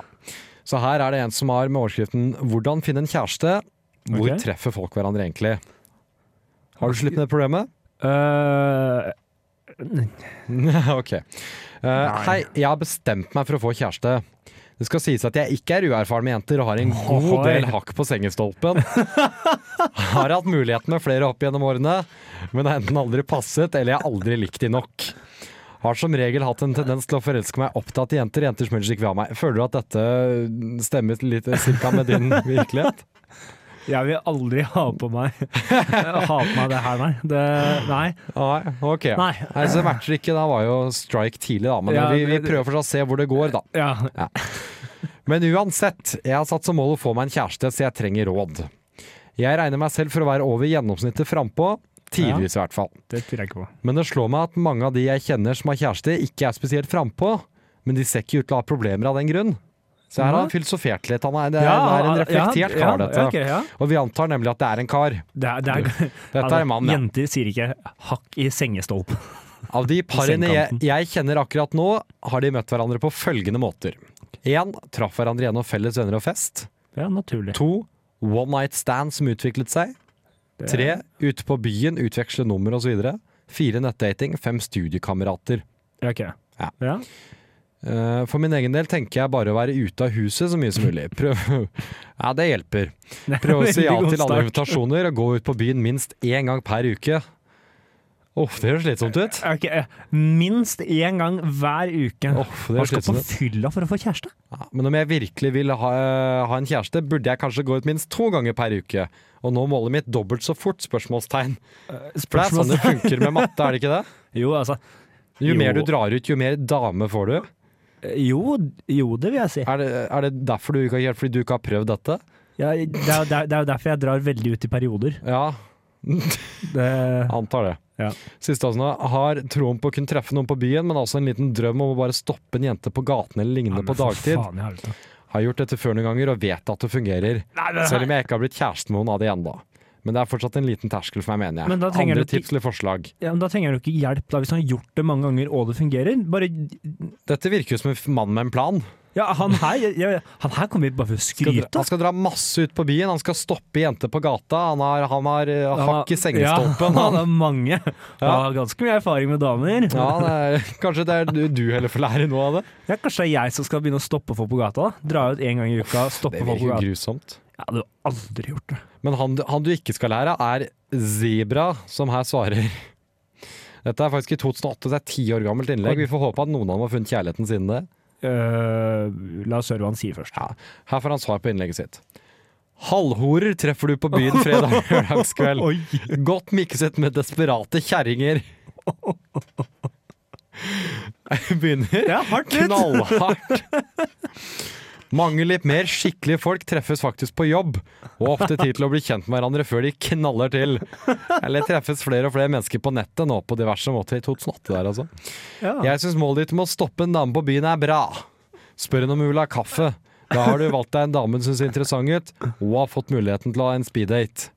S4: Så her er det en som har med overskriften 'Hvordan finne en kjæreste'. Hvor
S5: Ok.
S4: treffer folk hverandre egentlig? Har du slutt med det problemet? *laughs*
S5: Eh,
S4: ok. Eh, hei, jeg har bestemt meg for å få kjæreste. Det skal sies at jeg ikke er uerfaren med jenter og har en god
S5: Ohoi.
S4: del hakk på sengestolpen. Har hatt muligheten med flere opp gjennom årene, men har enten aldri passet eller jeg har aldri likt de nok. Har som regel hatt en tendens til å forelske meg opptatt i jenter, jenter som helst ikke vil ha meg. Føler du at dette stemmer litt cirka med din virkelighet?
S5: jeg vil aldri ha på meg *laughs* Ha på meg det her, nei. Det, nei.
S4: Nei, ok.
S5: Nei.
S4: Nei, så matcher ikke. Da var jo strike tidlig, da. Men
S5: Ja,
S4: vi, vi
S5: det-
S4: prøver for å se hvor det går, da.
S5: Ja.
S4: Men uansett, jeg har satt som mål å få meg en kjæreste, så jeg trenger råd. Jeg regner meg selv for å være over gjennomsnittet frampå. Tidvis, i hvert fall.
S5: Det tviler jeg ikke på.
S4: Men det slår meg at mange av de jeg kjenner som har kjæreste, ikke er spesielt frampå. Men de ser ikke ut til å ha problemer av den grunn. Så her har han filosofert litt. Han er, det er, det er en reflektert
S5: ja,
S4: kar, dette.
S5: ja, ok, ja.
S4: Og vi antar nemlig at det er en kar.
S5: Det er, det er, *laughs*
S4: Dette er en mann, ja.
S5: Jenter sier ikke 'hakk i sengestolpen'.
S4: Av de parene jeg,
S5: sengekanten.
S4: jeg kjenner akkurat nå, har de møtt hverandre på følgende måter. 1. Traff hverandre gjennom felles venner og fest.
S5: Det er naturlig.
S4: 2. One night stand som utviklet seg. 3. Ute på byen, utveksle nummer osv. 4. Nettdating. 5. Studiekamerater.
S5: Ja, ok.
S4: Ja. *laughs*
S5: Ja.
S4: Eh, For min egen del tenker jeg bare å være ute av huset så mye som
S5: *laughs*
S4: mulig. Prøv Ja, det hjelper. Prøve å si ja
S5: Veldig god
S4: til alle
S5: start.
S4: invitasjoner og gå ut på byen minst én gang per uke. Uff, det høres slitsomt ut.
S5: Ok, eh, Minst én gang hver uke.
S4: Uff, det
S5: Man
S4: høres
S5: skal
S4: slitsomt
S5: på
S4: ut.
S5: fylla for å få kjæreste.
S4: Ja, men om jeg virkelig vil ha, ha en kjæreste, burde jeg kanskje gå ut minst to ganger per uke. Og nå målet mitt dobbelt så fort? spørsmålstegn. For det er sånn det funker med matte, er det ikke det?
S5: Jo, altså.
S4: Jo,
S5: Jo.
S4: mer du drar ut, jo mer dame får du.
S5: eh, Jo, jo det vil jeg si.
S4: Er det, er det derfor du ikke har, fordi du ikke har prøvd dette?
S5: Ja, det, er, det, er, det er jo derfor jeg drar veldig ut i perioder.
S4: Ja,
S5: Det,
S4: antar det.
S5: Ja.
S4: Siste avsnitt er, har troen på å kunne treffe noen på byen, men altså en liten drøm om å bare stoppe en jente på gaten eller lignende på dagtid. Har gjort dette før noen ganger og vet at det fungerer. Selv om jeg ikke har blitt kjæresten med noen av de ennå. Men det er fortsatt en liten terskel for meg, mener jeg.
S5: Men da trenger
S4: Andre
S5: du ti-
S4: tips eller forslag?
S5: Ja, men da trenger han jo ikke hjelp, da, hvis han har gjort det mange ganger og det fungerer. Bare,
S4: Dette virker jo som en mann med en plan.
S5: ja, han her, ja, ja, han her kommer hit bare for å
S4: Skal dra,
S5: skryte.
S4: han skal dra masse ut på byen, han skal stoppe jenter på gata, han har, han har eh,
S5: Han har-
S4: hakk i sengestolpen.
S5: Ja, *laughs* han
S4: han.
S5: har mange. Han har ganske mye erfaring med damer.
S4: Ja, det er, *laughs* kanskje det er du, du heller får lære noe av det?
S5: Ja, kanskje det er jeg som skal begynne å stoppe folk på gata? da. Dra ut en gang i uka, stoppe
S4: Det
S5: folk på
S4: virker jo
S5: gata.
S4: grusomt.
S5: Jeg hadde jo aldri gjort det.
S4: Men han, han du ikke skal lære, er Zebra, som her svarer. Dette er faktisk i 2008, det er ti år gammelt innlegg. Vi får håpe at noen av dem har funnet kjærligheten siden det.
S5: Eh, la oss høre hva han sier først.
S4: Her får han svar på innlegget sitt. Halvhorer treffer du på byen fredag og lørdagskveld.
S5: Oi.
S4: Godt mikset med desperate kjerringer. Jeg begynner
S5: Det er hardt litt.
S4: knallhardt. Mange litt mer skikkelige folk treffes faktisk på jobb, og ofte tid til å bli kjent med hverandre før de knaller til. Eller treffes flere og flere mennesker på nettet nå på diverse måter i 2008 der, altså.
S5: Ja.
S4: Jeg syns målet ditt om å stoppe en dame på byen er bra. Spør henne om hun vil ha kaffe. Da har du valgt deg en dame hun syns er interessant ut, og har fått muligheten til å ha en speeddate.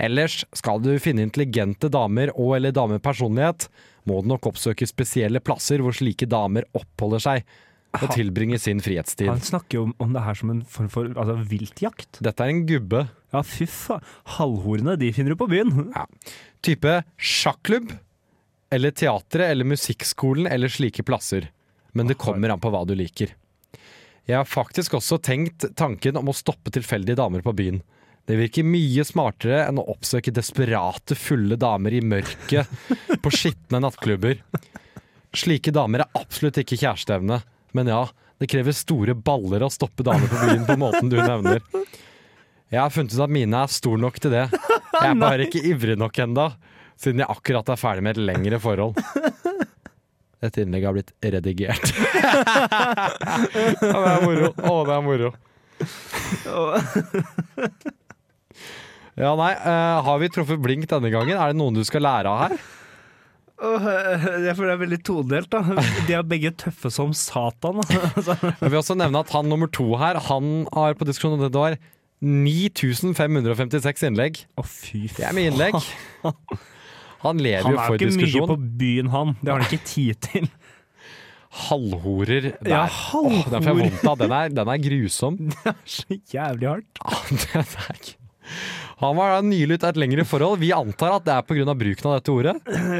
S4: Ellers, skal du finne intelligente damer og eller damer med personlighet, må du nok oppsøke spesielle plasser hvor slike damer oppholder seg og tilbringer sin
S5: Han
S4: frihetstid.
S5: snakker jo om, om det her som en form for altså, viltjakt.
S4: Dette er en gubbe.
S5: Ja, fy faen. Halvhorene, de finner du på byen.
S4: Type sjakklubb eller teatret eller musikkskolen eller slike plasser. Men det kommer an på hva du liker. Jeg har faktisk også tenkt tanken om å stoppe tilfeldige damer på byen. Det virker mye smartere enn å oppsøke desperate, fulle damer i mørket på skitne nattklubber. Slike damer er absolutt ikke kjæresteevne, men ja, det krever store baller å stoppe damer på byen på måten du nevner. Jeg har funnet ut at mine er stor nok til det. Jeg er bare ikke ivrig nok enda, siden jeg akkurat er ferdig med et lengre forhold. Dette innlegget har blitt redigert. ja, det er moro. Å, det er moro. Ja, nei, eh, har vi truffet blink denne gangen? Er det noen du skal lære av her?
S5: Jeg føler det er veldig todelt, da. De er begge tøffe som satan. altså.
S4: Jeg vil også nevne at han nummer to her, han har på diskusjonen dette år 9556 innlegg.
S5: Å, fy
S4: Det er
S5: faen.
S4: mye innlegg. Han lever
S5: Han
S4: jo
S5: er jo
S4: for
S5: ikke mye
S4: diskusjon.
S5: på byen, han. Det har han ikke tid til.
S4: Halvhorer der.
S5: Ja,
S4: Åh, den får jeg
S5: halvhor.
S4: vondt av. Den er, den er grusom.
S5: Det er så *laughs* jævlig hardt.
S4: *laughs* Det er ikke- Han var da nylig ute av et lengre forhold. Vi antar at det er pga. bruken av dette ordet.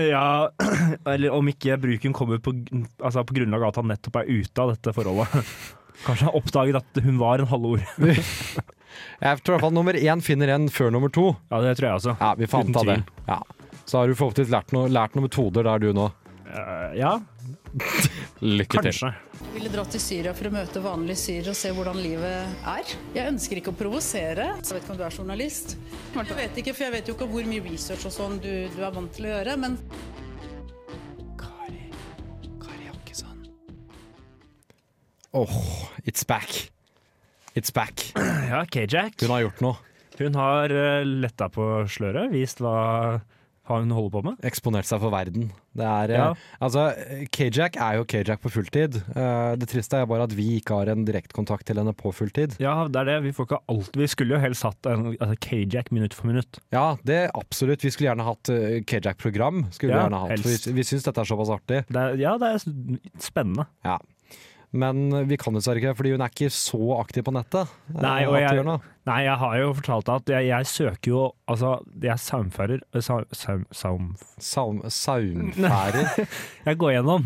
S5: Ja, *clears throat* eller om ikke bruken kommer på, altså på grunnlag av at han nettopp er ute av dette forholdet. *laughs* Kanskje han oppdaget at hun var en halvor. *laughs*
S4: Jeg tror i hvert fall nummer én finner en før nummer to.
S5: Ja, det tror jeg også.
S4: Ja, vi får
S5: Uten
S4: anta det. Ja. Så har du forhåpentligvis lært, noe- lært noen metoder der, du nå.
S5: Eh, Ja,
S4: Lykke til.
S5: kanskje.
S9: ville dra til Syria for å møte vanlige syrere og se hvordan livet er. Jeg ønsker ikke å provosere. Jeg vet ikke om du er journalist. Jeg vet ikke, for jeg vet jo ikke hvor mye research og sånn du, du er vant til å gjøre, men
S4: Åh, it's back. It's back.
S5: Ja, K-Jack.
S4: Hun har gjort noe.
S5: Hun har eh, letta på sløret, vist hva hva hun holder på med.
S4: Eksponert seg for verden. Det er, eh,
S5: Ja.
S4: altså, Kajak er jo Kajak på fulltid. Eh, Det triste er bare at vi ikke har en direktekontakt til henne på fulltid.
S5: Ja, det er det. Vi får ikke alt. Vi skulle jo helst hatt en altså, K-Jack minutt for minutt.
S4: Ja, det absolutt. Vi skulle gjerne hatt eh, Kajak-program. Skulle
S5: Ja,
S4: vi gjerne hatt, for
S5: helst.
S4: vi, vi syns dette er såpass artig.
S5: Det er, ja, det er s- spennende.
S4: Ja. Men vi kan dessverre ikke, fordi hun er ikke så aktiv på nettet. eh,
S5: Nei, og
S4: at hun
S5: jeg-
S4: gjør noe.
S5: Nei, jeg har jo fortalt deg at jeg, jeg søker jo Altså, jeg eh, saumfører saum, saum, saum,
S4: Saum, saumfærer.
S5: Jeg går gjennom.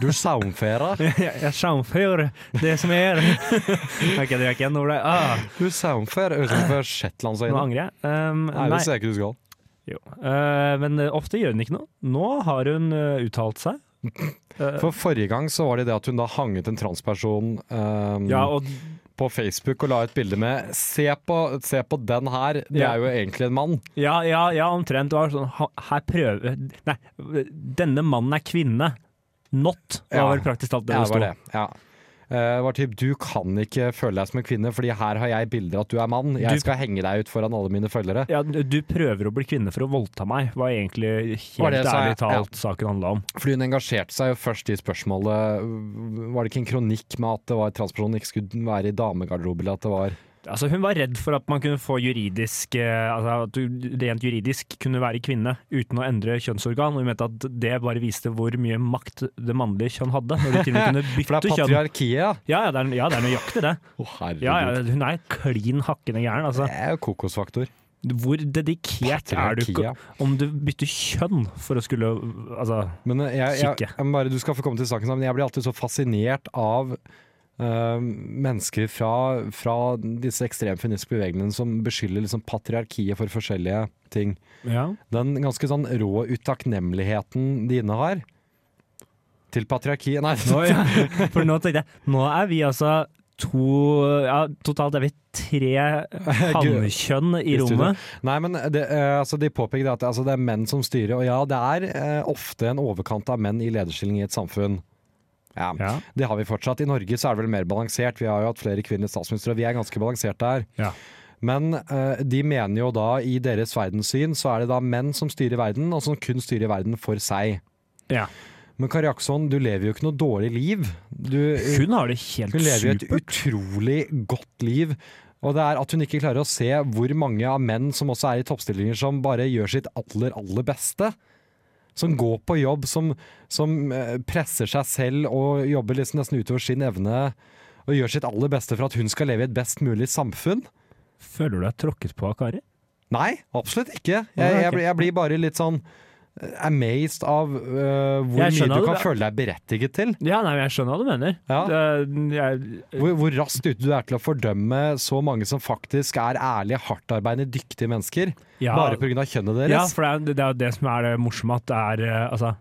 S4: *laughs* Du saumfærer.
S5: Jeg, jeg saumfører det som jeg gjør. *laughs* OK, dere er ikke igjen over det. Ah,
S4: Du saumfærer utenfor
S5: nå
S4: Shetlandsøyene.
S5: angrer jeg. Um,
S4: Nei,
S5: nei.
S4: det ser jeg ikke du skal.
S5: Jo. Eh, men eh, ofte gjør hun ikke noe. Nå har hun eh, uttalt
S4: *laughs*
S5: seg. Eh,
S4: For forrige gang så var det det at hun da hanget en transperson eh,
S5: ja, og
S4: på Facebook og la ut bilde med se på, 'Se på den her, det
S5: Ja.
S4: er jo egentlig en mann'.
S5: ja, ja, ja, omtrent. Det var sånn ha- Her prøver Nei, denne mannen er kvinne. Not, var
S4: Ja.
S5: vel praktisk talt det
S4: Ja,
S5: det
S4: det var
S5: sto.
S4: det. Ja. Eh, var typ, Du kan ikke føle deg som en kvinne, Fordi her har jeg bilder at du er mann.
S5: Du-
S4: Jeg skal henge deg ut foran alle mine følgere.
S5: Ja, du prøver å bli kvinne for å voldta meg, var egentlig
S4: Var
S5: helt
S4: det jeg sa,
S5: ærlig
S4: ja.
S5: talt saken handla om.
S4: Fordi hun engasjerte seg jo først i spørsmålet øh, Var det ikke en kronikk med at det var transpersonen ikke skulle være i damegarderobe, eller at det var
S5: Altså, hun var redd for at man kunne få juridisk eh, altså, At du rent juridisk kunne være kvinne uten å endre kjønnsorgan. Og hun mente at det bare viste hvor mye makt det mannlige kjønn hadde. Når du til og med kunne
S4: *laughs* For det
S5: bytte
S4: er
S5: kjønn.
S4: patriarkiet, ja!
S5: Ja, ja, det er, ja, det er nøyaktig det.
S4: Å, herregud.
S5: Ja, ja, hun er klin hakkende gæren. Altså.
S4: Det er jo kokosfaktor.
S5: Hvor dedikert er du ikke
S4: Patriarkiet.
S5: om du bytter kjønn for å skulle Altså,
S4: Men øh, jeg, jeg,
S5: Kikke.
S4: jeg, må bare, du skal få komme til saken, men jeg blir alltid så fascinert av øh, mennesker fra, fra disse ekstremfeministiske bevegelsene som beskylder liksom patriarkiet for forskjellige ting.
S5: ja.
S4: Den ganske sånn rå utakknemligheten de innehar til patriarkiet Nei, *laughs*
S5: Nå, ja. For nå tenkte jeg Nå er vi altså to Ja, totalt er vi tre hannkjønn i
S4: I studio.
S5: rommet.
S4: Nei, men det, eh, altså, de påpeker at altså, det er menn som styrer, og ja, det er eh, ofte en overkant av menn i lederstilling i et samfunn. Ja,
S5: Ja.
S4: Det har vi fortsatt. I Norge så er det vel mer balansert. Vi har jo hatt flere kvinnelige statsministre, og vi er ganske balansert der.
S5: Ja.
S4: Men eh, de mener jo da, i deres verdenssyn, så er det da menn som styrer verden, og som kun styrer verden for seg.
S5: Ja.
S4: Men Kari Jaksson, du lever jo ikke noe dårlig liv. Du,
S5: Hun har det helt
S4: hun lever jo et
S5: supert.
S4: utrolig godt liv. Og det er at hun ikke klarer å se hvor mange av menn som også er i toppstillinger som bare gjør sitt aller, aller beste. Som går på jobb, som, som eh, presser seg selv og jobber liksom nesten utover sin evne. Og gjør sitt aller beste for at hun skal leve i et best mulig samfunn.
S5: Føler du deg tråkket på av Kari?
S4: Nei, absolutt ikke. Jeg,
S5: Nei,
S4: jeg,
S5: ok.
S4: blir- jeg blir bare litt sånn eh, amazed av eh, hvor mye
S5: Jeg skjønner
S4: du
S5: det.
S4: kan føle deg berettiget til.
S5: Ja, nei, men jeg skjønner hva du mener.
S4: Ja.
S5: Det- jeg,
S4: Hvor, hvor raskt ute du er til å fordømme så mange som faktisk er ærlige, hardtarbeidende, dyktige mennesker.
S5: ja,
S4: Bare pga. kjønnet
S5: Ja,
S4: deres.
S5: for det er det, er jo det som er det morsomme, at det er eh, altså,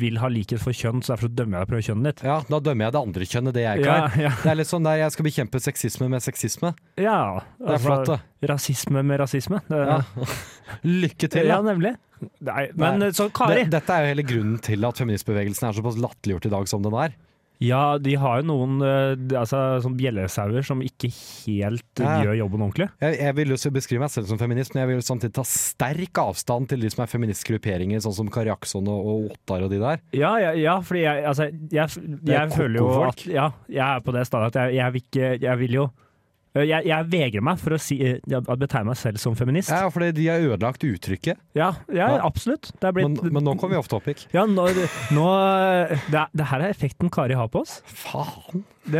S5: vil ha likhet for kjønn, så derfor dømmer jeg deg på kjønnet ditt.
S4: Ja, Da dømmer jeg det andre kjønnet, det jeg ikke
S5: Ja,
S4: er.
S5: ja,
S4: Det er litt sånn der jeg skal bekjempe sexisme med sexisme.
S5: ja, altså,
S4: Det er flott, det.
S5: Rasisme med rasisme. Det,
S4: Ja, Lykke til,
S5: ja,
S4: da.
S5: nemlig. Nei, men
S4: Nei.
S5: eh, så Kari
S4: Det- Dette er jo hele grunnen til at feministbevegelsen er såpass latterliggjort i dag som den er.
S5: Ja, de har jo noen eh, altså, sånn bjellesauer som ikke helt eh,
S4: Ja.
S5: gjør jobben ordentlig.
S4: Jeg, jeg vil jo så beskrive meg selv som feminist, men jeg vil jo samtidig ta sterk avstand til de som er feministgrupperinger, sånn som Kari Jaksson og, og Ottar og de der.
S5: Ja, ja, ja fordi jeg, altså, jeg,
S4: er
S5: jeg føler jo
S4: koko-folk.
S5: at ja, jeg er på det stadiet at jeg, jeg, vil, ikke, jeg vil jo øh, jeg, jeg vegrer meg for å si, eh, at betegne meg selv som feminist.
S4: Ja, fordi de har ødelagt uttrykket.
S5: Ja, ja,
S4: Ja.
S5: absolutt. Det er
S4: Men,
S5: blitt
S4: men nå kommer vi off topic.
S5: Ja, nå, nå øh, det, er- det her er effekten Kari har på oss.
S4: Faen!
S5: Det,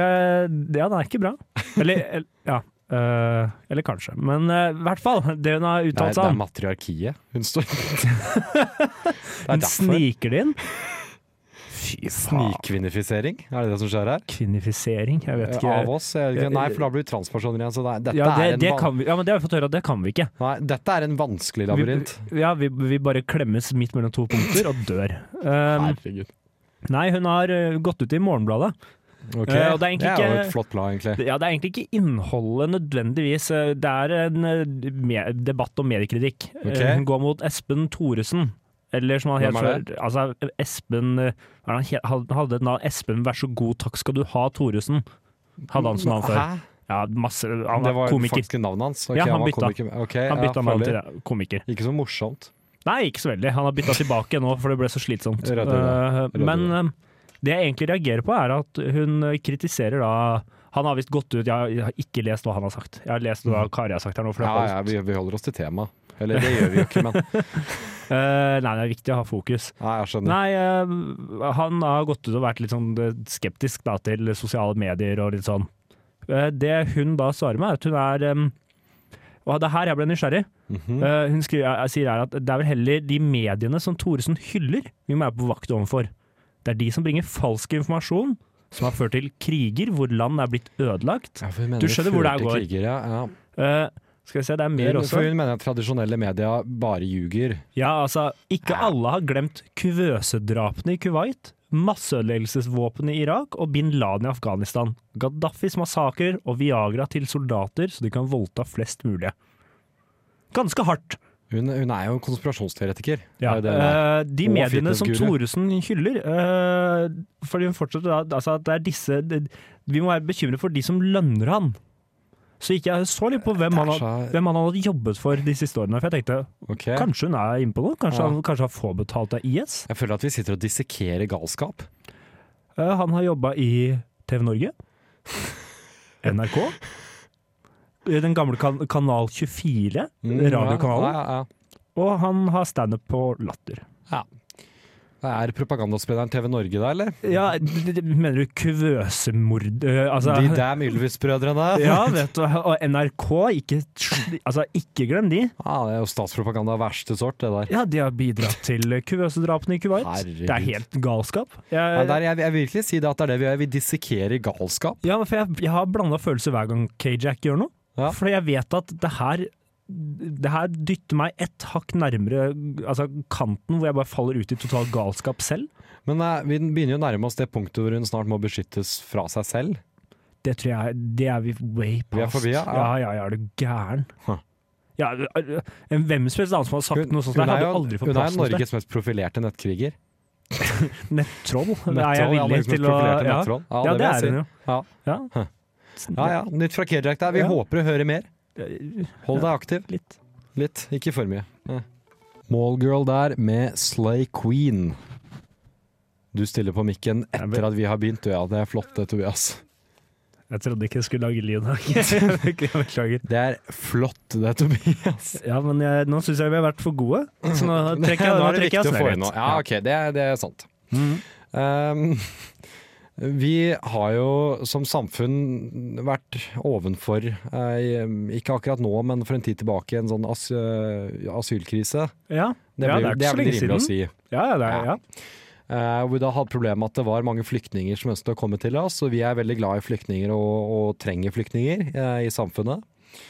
S5: det, ja, den er ikke bra. Eller, el- ja. øh, eller kanskje. Men øh, i hvert fall, det hun har
S4: Nei,
S5: uttalt
S4: det
S5: seg
S4: er
S5: om.
S4: matriarkiet. Hun
S5: *laughs*
S4: står Det er
S5: Hun
S4: derfor.
S5: sniker det inn. Fy faen.
S4: Snikkvinifisering, er det det som skjer her?
S5: Kvinifisering, jeg vet ikke.
S4: Av oss? Jeg vet ikke. Nei, for da blir vi transpersoner igjen. Så det, er- dette,
S5: Ja,
S4: er
S5: det,
S4: en
S5: det
S4: van-
S5: kan vi, ja, men det har vi fått høre at det kan vi ikke.
S4: Nei, dette er en vanskelig
S5: Vi,
S4: labyrint.
S5: ja, vi, vi bare klemmes midt mellom to punkter og dør. Um,
S4: Herregud.
S5: nei, hun har øh, gått ut i Morgenbladet.
S4: Ok.
S5: Eh, og det er egentlig
S4: det er jo
S5: ikke-
S4: et flott blad, egentlig.
S5: Ja, det er egentlig ikke innholdet nødvendigvis. Det er en eh, me- debatt om mediekritikk.
S4: Ok.
S5: Eh, Hun går mot Espen Thoresen. Eller som han het
S4: Hvem er
S5: før. Altså, Espen eh, hva er det han het? Han hadde et navn Espen, vær så god, takk skal du ha, Thoresen. Hadde han som navn før.
S4: Hæ?
S5: Ja, masse, han
S4: Det var
S5: var komiker.
S4: faktisk navnet hans. Ok,
S5: Ja, han
S4: var
S5: bytta.
S4: komiker. Ok,
S5: Han bytta
S4: ja,
S5: navn
S4: følger.
S5: til ja, komiker.
S4: Ikke så morsomt.
S5: Nei, ikke så veldig. Han har bytta tilbake nå, for det ble så slitsomt.
S4: Rødde det.
S5: Eh, Men eh, det jeg egentlig reagerer på, er at hun eh, kritiserer da Han har visst gått ut, jeg har- jeg har ikke lest hva han har sagt. Jeg har lest hva Kari har sagt her nå. For
S4: Mhm.
S5: det
S4: Ja,
S5: holdt.
S4: ja, vi, vi holder oss til temaet. Eller det gjør vi jo ikke,
S5: *laughs*
S4: men
S5: Eh, nei, det er viktig å ha fokus.
S4: Nei, jeg skjønner.
S5: Nei, eh, han har gått ut og vært litt sånn eh, skeptisk da, til sosiale medier og litt sånn. Eh, det hun da svarer med, er at hun er em, og det er her jeg ble nysgjerrig.
S4: Mhm.
S5: Eh, hun skriver, jeg sier her at det er vel heller de mediene som Thoresen hyller vi må være på vakt overfor. Det er de som bringer falsk informasjon, som har ført til kriger hvor land er blitt ødelagt.
S4: Ja, for hun mener
S5: Du skjønner hvor det her
S4: førte
S5: går.
S4: Kriger, ja. ja.
S5: Eh, skal vi se, det er mer
S4: For
S5: også.
S4: hun mener at tradisjonelle media bare ljuger.
S5: Ja, altså, ikke alle har glemt kuvøsedrapene i Kuwait, masseødeleggelsesvåpenet i Irak og bin Laden i Afghanistan. Gaddafis massakrer og Viagra til soldater så de kan voldta flest mulig. Ganske hardt.
S4: Hun, hun er jo en konspirasjonsteoretiker.
S5: Ja,
S4: Det er jo det hun er.
S5: eh, de
S4: Og
S5: mediene som
S4: fitnessguru.
S5: Thoresen hyller eh, Fordi hun fortsetter da, altså at det er disse det, Vi må være bekymret for de som lønner han. Så gikk jeg så litt på hvem han,
S4: Det er
S5: had-
S4: så-
S5: hvem han hadde jobbet for de siste årene. For jeg tenkte
S4: Ok.
S5: kanskje hun er inne på noe? Kanskje,
S4: Ja.
S5: han, kanskje han får betalt av IS?
S4: Jeg føler at vi sitter og dissekerer galskap.
S5: Eh, han har jobba i TV
S4: *laughs*
S5: Norge, NRK, i den gamle kan Kanal 24,
S4: Mm, Ja,
S5: radiokanalen,
S4: ja, ja.
S5: og han har standup på Latter.
S4: Er propagandaspilleren TV Norge der, eller?
S5: Ja, d- d- mener du kuvøsemord eh, altså,
S4: De damn Ylvis-brødrene.
S5: *laughs* Ja, vet du. Og NRK, ikke, altså, ikke glem de.
S4: Ja, Ah, det er jo statspropaganda av verste sort, det der.
S5: Ja, de har bidratt til kuvøsedrapene i Kuwait.
S4: Herregud.
S5: Det er helt galskap.
S4: Ja,
S5: Jeg,
S4: der jeg, jeg vil virkelig si det at det er det vi gjør. Vi dissekerer galskap.
S5: ja, for jeg, jeg har blanda følelser hver gang K-Jack gjør noe.
S4: Ja.
S5: For jeg vet at det her det her dytter meg ett hakk nærmere altså, kanten hvor jeg bare faller ut i total galskap selv.
S4: Men eh, vi begynner jo å nærme oss det punktet hvor hun snart må beskyttes fra seg selv.
S5: Det tror jeg Det er vi way past.
S4: Vi er forbi, ja,
S5: Ja,
S4: ja.
S5: ja, ja, er du gæren.
S4: Huh.
S5: Ja, en hvem som helst annen som har sagt noe sånt,
S4: hun
S5: der,
S4: er
S5: hadde
S4: jo-
S5: jo aldri fått
S4: hun er
S5: plass
S4: jo
S5: noe sted.
S4: Norges mest profilerte nettkriger.
S5: Nettroll?
S4: Nettroll,
S5: er jeg
S4: ja,
S5: villig
S4: Norges mest
S5: til å
S4: profilerte
S5: ja.
S4: nettroll.
S5: Ja,
S4: Ja,
S5: det,
S4: det vil jeg
S5: er
S4: si.
S5: hun jo.
S4: Ja.
S5: Ja.
S4: Ja ja, nytt fra Kerjak der. Vi
S5: Ja.
S4: håper å høre mer. Hold deg aktiv.
S5: Øh, Litt.
S4: Litt, ikke for mye. Ja. Mallgirl der med Slay Queen. Du stiller på mikken etter at vi har begynt, du ja. Det er flott det, Tobias.
S5: Jeg trodde ikke jeg skulle lage lyd *laughs* her. Jeg Beklager.
S4: Det er flott det, Tobias.
S5: Ja, men jeg, nå syns jeg vi har vært for gode, så
S4: *laughs*
S5: nå *laughs* trekker jeg, nå
S4: var det
S5: trekker
S4: viktig å
S5: jeg
S4: få inn
S5: snøret.
S4: nå. Ja, ok, det, er- det er sant.
S5: Mhm.
S4: Um, *laughs* vi har jo som samfunn vært ovenfor, eh, ikke akkurat nå, men for en tid tilbake, en sånn as asylkrise.
S5: Ja,
S4: Det,
S5: ja,
S4: blir-
S5: det
S4: det
S5: er ikke
S4: er
S5: så
S4: vel
S5: lenge
S4: rimelig å
S5: siden.
S4: si.
S5: Ja, ja, det er, ja.
S4: Eh, hvor vi da hadde problemet med at det var mange flyktninger som ønsket å komme til oss, og vi er veldig glad i flyktninger og, og trenger flyktninger eh, i samfunnet.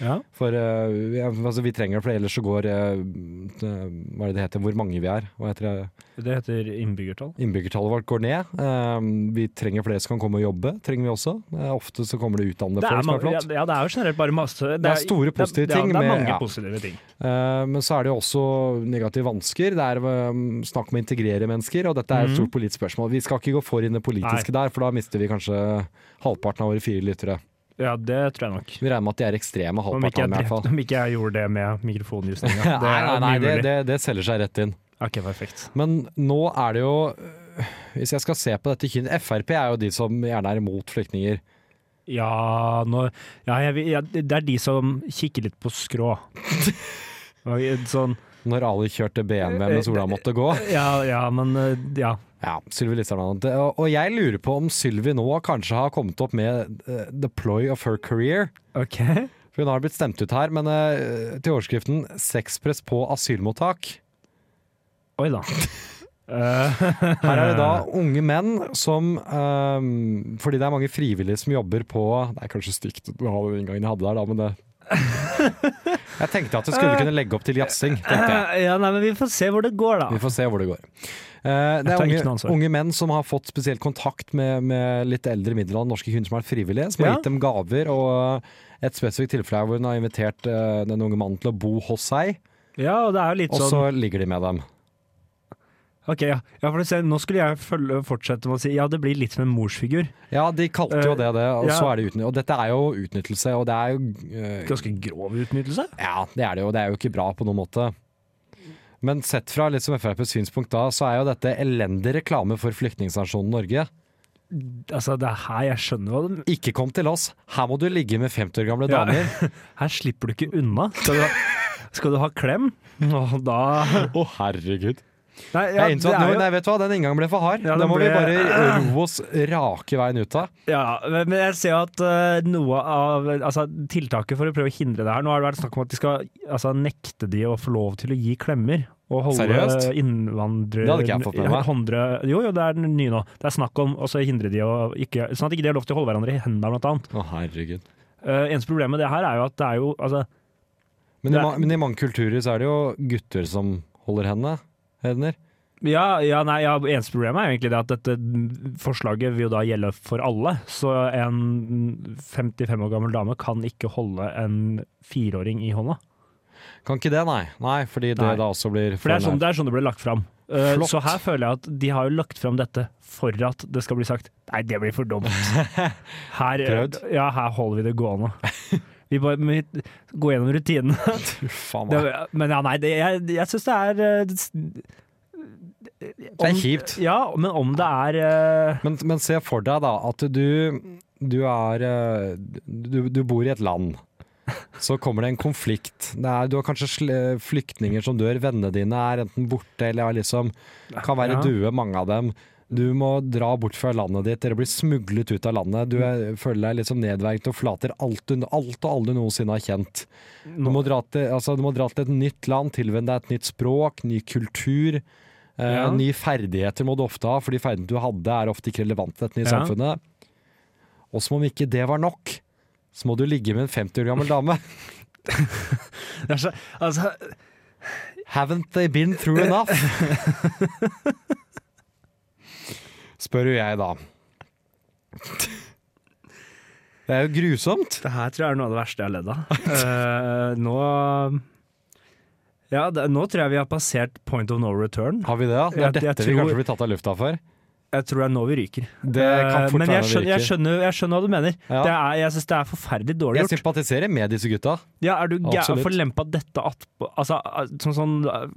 S5: Ja.
S4: For eh, vi, altså, vi trenger det, for ellers så går eh, eh, Hva er det det heter? Hvor mange vi er? Hva heter det?
S5: Det heter innbyggertall.
S4: Innbyggertallet vårt går ned. Eh, vi trenger flere som kan komme og jobbe, trenger vi også. Eh, ofte så kommer det utdannede
S5: Det er,
S4: folk, som
S5: mange-
S4: er flott.
S5: ja, det er jo generelt bare masse Det,
S4: er store positive
S5: det er-
S4: ting
S5: Ja, det er
S4: med-
S5: mange
S4: ja.
S5: positive ting.
S4: Eh, Men så er det jo også negative vansker. Det er eh, snakk om å integrere mennesker, og dette
S5: Mhm.
S4: er et stort politisk spørsmål. Vi skal ikke gå for inn i det politiske der, for da mister vi kanskje halvparten av våre fire lyttere.
S5: Ja, det tror jeg nok.
S4: Vi regner med at de er ekstreme,
S5: Om
S4: halvparten av
S5: ikke jeg,
S4: dem i hvert
S5: drept,
S4: fall.
S5: om ikke jeg gjorde det med
S4: *laughs*
S5: mikrofonjusteringa.
S4: Nei,
S5: Det
S4: nei,
S5: er
S4: nei, det,
S5: umulig.
S4: det, det selger seg rett inn.
S5: Ok, perfekt.
S4: Men nå er det jo øh, Hvis jeg skal se på dette kyn Frp er jo de som gjerne er imot flyktninger.
S5: Ja, nå, ja, jeg, vil- ja, det er de som kikker litt
S4: *laughs*
S5: på skrå. Og i- Sånn,
S4: Når Ali kjørte BMW mens Ola måtte gå.
S5: ja, ja, men eh, ja.
S4: Ja, Sylvi Listhaug. og annet. Og og jeg lurer på om Sylvi nå kanskje har kommet opp med eh, the ploy of her career.
S5: OK.
S4: For hun har blitt stemt ut her, men eh, til overskriften 'Sexpress på asylmottak'.
S5: Oi
S4: *laughs*
S5: da. Eh,
S4: Her er det da unge menn som eh, Fordi det er mange frivillige som jobber på Det er kanskje stygt å ha den inngangen jeg hadde der, da, men det
S5: *laughs*
S4: Jeg tenkte at jeg skulle kunne legge opp til jazzing, tenkte jeg.
S5: Eh, ja, nei, men vi får se hvor det går, da.
S4: Vi får se hvor det går. Eh, det
S5: Jeg tar ikke
S4: er
S5: noe
S4: unge,
S5: ansvar.
S4: unge menn som har fått spesielt kontakt med, med litt eldre middelaldrende norske kvinner som har vært frivillige, som har
S5: Ja.
S4: gitt dem gaver. Og eh, et spesifikt tilfelle er hvor hun har invitert eh, den unge mannen til å bo hos seg,
S5: Ja, og det er jo litt
S4: og
S5: sånn
S4: så ligger de med dem.
S5: Ok, ja. ja for du ser, Nå skulle jeg følge, fortsette med å si ja, det blir litt som en morsfigur.
S4: Ja, de kalte jo
S5: Eh,
S4: det det, og
S5: ja.
S4: så er det utnyttelse. Og dette er jo utnyttelse, og det er jo eh,
S5: Ganske grov utnyttelse.
S4: Ja, det er det jo. Det er jo ikke bra på noen måte. Men sett fra litt som FrPs synspunkt da, så er jo dette elendig reklame for flyktningstasjonen Norge.
S5: Altså, det er her jeg skjønner hva det
S4: Ikke kom til oss! Her må du ligge med 50 år gamle
S5: Ja.
S4: damer.
S5: *laughs* Her slipper du ikke unna. Skal du ha, skal du ha klem? Og da
S4: Å, herregud.
S5: Nei, ja,
S4: jeg innså
S5: det
S4: at
S5: er
S4: nå,
S5: jo-
S4: nei, vet du hva, den inngangen ble for hard.
S5: Ja,
S4: da
S5: den
S4: må vi
S5: ble-
S4: bare ro oss rake veien ut av.
S5: Ja, men men jeg ser jo at eh, noe av altså, tiltaket for å prøve å hindre det her Nå har det vært snakk om at de skal altså, nekte de å få lov til å gi klemmer. Og holde
S4: Seriøst?
S5: innvandrere
S4: Det hadde ikke jeg fått med meg.
S5: håndre- Jo, jo, det er nye nå. Det er snakk om å så hindre de å ikke Sånn at ikke de har lov til å holde hverandre i hendene, blant annet.
S4: Å, herregud.
S5: Eh, eneste problemet med det her er jo at det er jo altså,
S4: Men i,
S5: Det er-
S4: ma men i mange kulturer så er det jo gutter som holder henne. Hender.
S5: ja, ja, nei, ja, Eneste problemet er jo egentlig det at dette forslaget vil jo da gjelde for alle. Så en 55 år gammel dame kan ikke holde en fireåring i hånda.
S4: Kan ikke det, nei. Nei, fordi det
S5: Nei.
S4: da også blir
S5: For det er
S4: for
S5: sånn
S4: nær.
S5: det, er sånn det ble lagt fram. Eh,
S4: Flott.
S5: så her føler jeg at de har jo lagt fram dette for at det skal bli sagt Nei, det blir for *laughs* dumt. Her, eh,
S4: Prøvd.
S5: ja, her holder vi det *laughs* gående. Vi bare vi går gjennom rutinene.
S4: *laughs* Faen,
S5: *laughs* Det,
S4: nei.
S5: men ja, nei, det, jeg, jeg syns det er eh, det-
S4: Det
S5: om-
S4: er kjipt.
S5: Ja, men om det er eh,
S4: Men, men se for deg da at du, du er eh, du, du bor i et land. Så kommer det en konflikt. Det er, du har kanskje sl- eh, flyktninger som dør. Vennene dine er enten borte eller er liksom, kan være
S5: Ja.
S4: døde, mange av dem. Du må dra bort fra landet ditt, dere blir smuglet ut av landet. Du er, føler deg liksom nedverget og flater alt, du, alt og alle du noensinne har kjent. Du må, dra til, altså, du må dra til et nytt land, tilvenne deg et nytt språk, ny kultur. Eh,
S5: Ja.
S4: Nye ferdigheter må du ofte ha, for de ferdighetene du hadde er ofte ikke relevante i
S5: Ja.
S4: samfunnet. Og som om ikke det var nok, så må du ligge med en 50 år gammel dame. *laughs*
S5: det er så, altså,
S4: Haven't they been through
S5: *laughs*
S4: enough? Spør jo jeg da. Det er jo grusomt.
S5: Det her tror jeg er noe av det verste jeg har *laughs* ledd av. Eh, nå Ja, det, nå tror jeg vi har passert point of no return.
S4: Har vi det? da? Det
S5: Jeg-
S4: er dette
S5: jeg
S4: vi
S5: tror-
S4: kanskje blir tatt av lufta for.
S5: Jeg tror det er nå vi ryker.
S4: Det kan
S5: Eh,
S4: fort
S5: Men jeg
S4: være det
S5: skjønner, jeg,
S4: virker.
S5: skjønner, jeg skjønner hva du mener.
S4: Ja.
S5: Det er, jeg syns det er forferdelig dårlig
S4: Jeg
S5: gjort.
S4: sympatiserer med disse gutta.
S5: Ja, er du gæren
S4: Absolutt.
S5: for å lempe dette attpå Altså, sånn sånn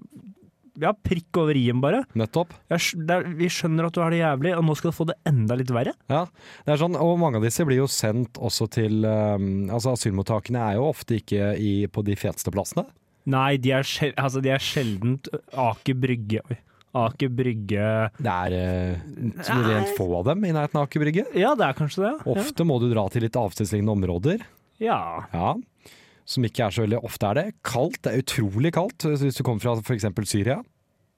S5: Ja, prikk over i-en, bare.
S4: Nettopp.
S5: Jeg, skj- det er, vi skjønner at du har det jævlig, og nå skal du få det enda litt verre.
S4: Ja, det er sånn, og mange av disse blir jo sendt også til um, Altså asylmottakene er jo ofte ikke i, på de feteste plassene.
S5: Nei, de er, sjel, altså, de er sjeldent Aker Brygge Oi. Aker Brygge
S4: Det er eh, så rent få av dem i nærheten av Aker Brygge.
S5: Ja, det er kanskje det. ja.
S4: Ofte må du dra til litt avstedslignende områder,
S5: Ja.
S4: ja, som ikke er så veldig ofte er det. Kaldt, det er utrolig kaldt eh, hvis du kommer fra f.eks. Syria.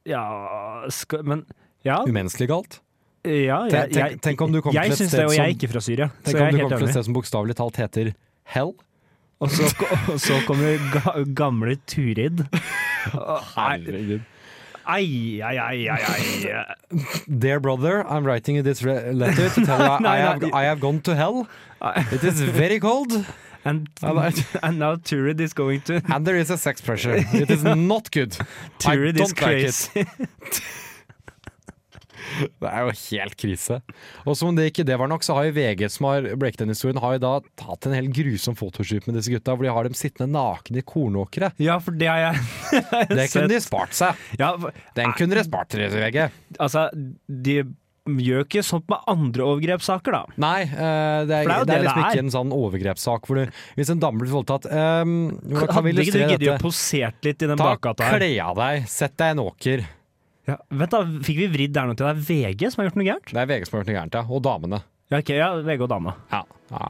S5: ja skal, Men ja,
S4: Umenneskelig kaldt.
S5: ja jeg,
S4: Tenk, tenk, tenk om du kommer til
S5: jeg
S4: et
S5: syns det,
S4: sted
S5: og jeg er
S4: som,
S5: ikke fra Syria. Så
S4: tenk
S5: jeg
S4: om
S5: er
S4: du kommer
S5: helt
S4: til et
S5: enig.
S4: sted som bokstavelig talt heter hell.
S5: Og så, og så kommer ga, gamle Turid. Nei, Ai, ai, ai, ai, ai.
S4: Dear brother, I'm writing you this re- letter to tell you I,
S5: *laughs* Nei,
S4: I,
S5: nei.
S4: have, I have gone to hell. It is very cold.
S5: And,
S4: Ja, det
S5: and now Turid is going to
S4: And there is a sex pressure. It is not
S5: *laughs*
S4: good. I
S5: Turid is
S4: don't like it.
S5: crazy. *laughs*
S4: Det er jo helt krise. Og som om det ikke det var nok, så har jo VG som har breaket den historien, har jo da tatt en helt grusom fotoshoot med disse gutta, hvor de har dem sittende nakne i kornåkre.
S5: *laughs* ja, for det har jeg
S4: Det kunne
S5: sett.
S4: de spart seg.
S5: ja, for-
S4: Den kunne de spart dere, VG.
S5: Altså, de gjør ikke sånt med andre overgrepssaker, da.
S4: Nei, eh, det er, det
S5: For det er jo
S4: er,
S5: det
S4: liksom
S5: det er.
S4: ikke en sånn overgrepssak hvor du Hvis en dame blir voldtatt eh, Hvordan kan vi
S5: Hadde ikke du
S4: illustrere
S5: giddet å
S4: dette?
S5: posert litt i den
S4: Ta,
S5: bakgata her?
S4: kle av deg, sett deg i en åker.
S5: Ja, vent da, Fikk vi vridd der nå til det er VG som har gjort noe gærent?
S4: Det er VG som har gjort noe gærent, ja. Og damene.
S5: Ja, ok, ja, VG og dama.
S4: Ja. ja.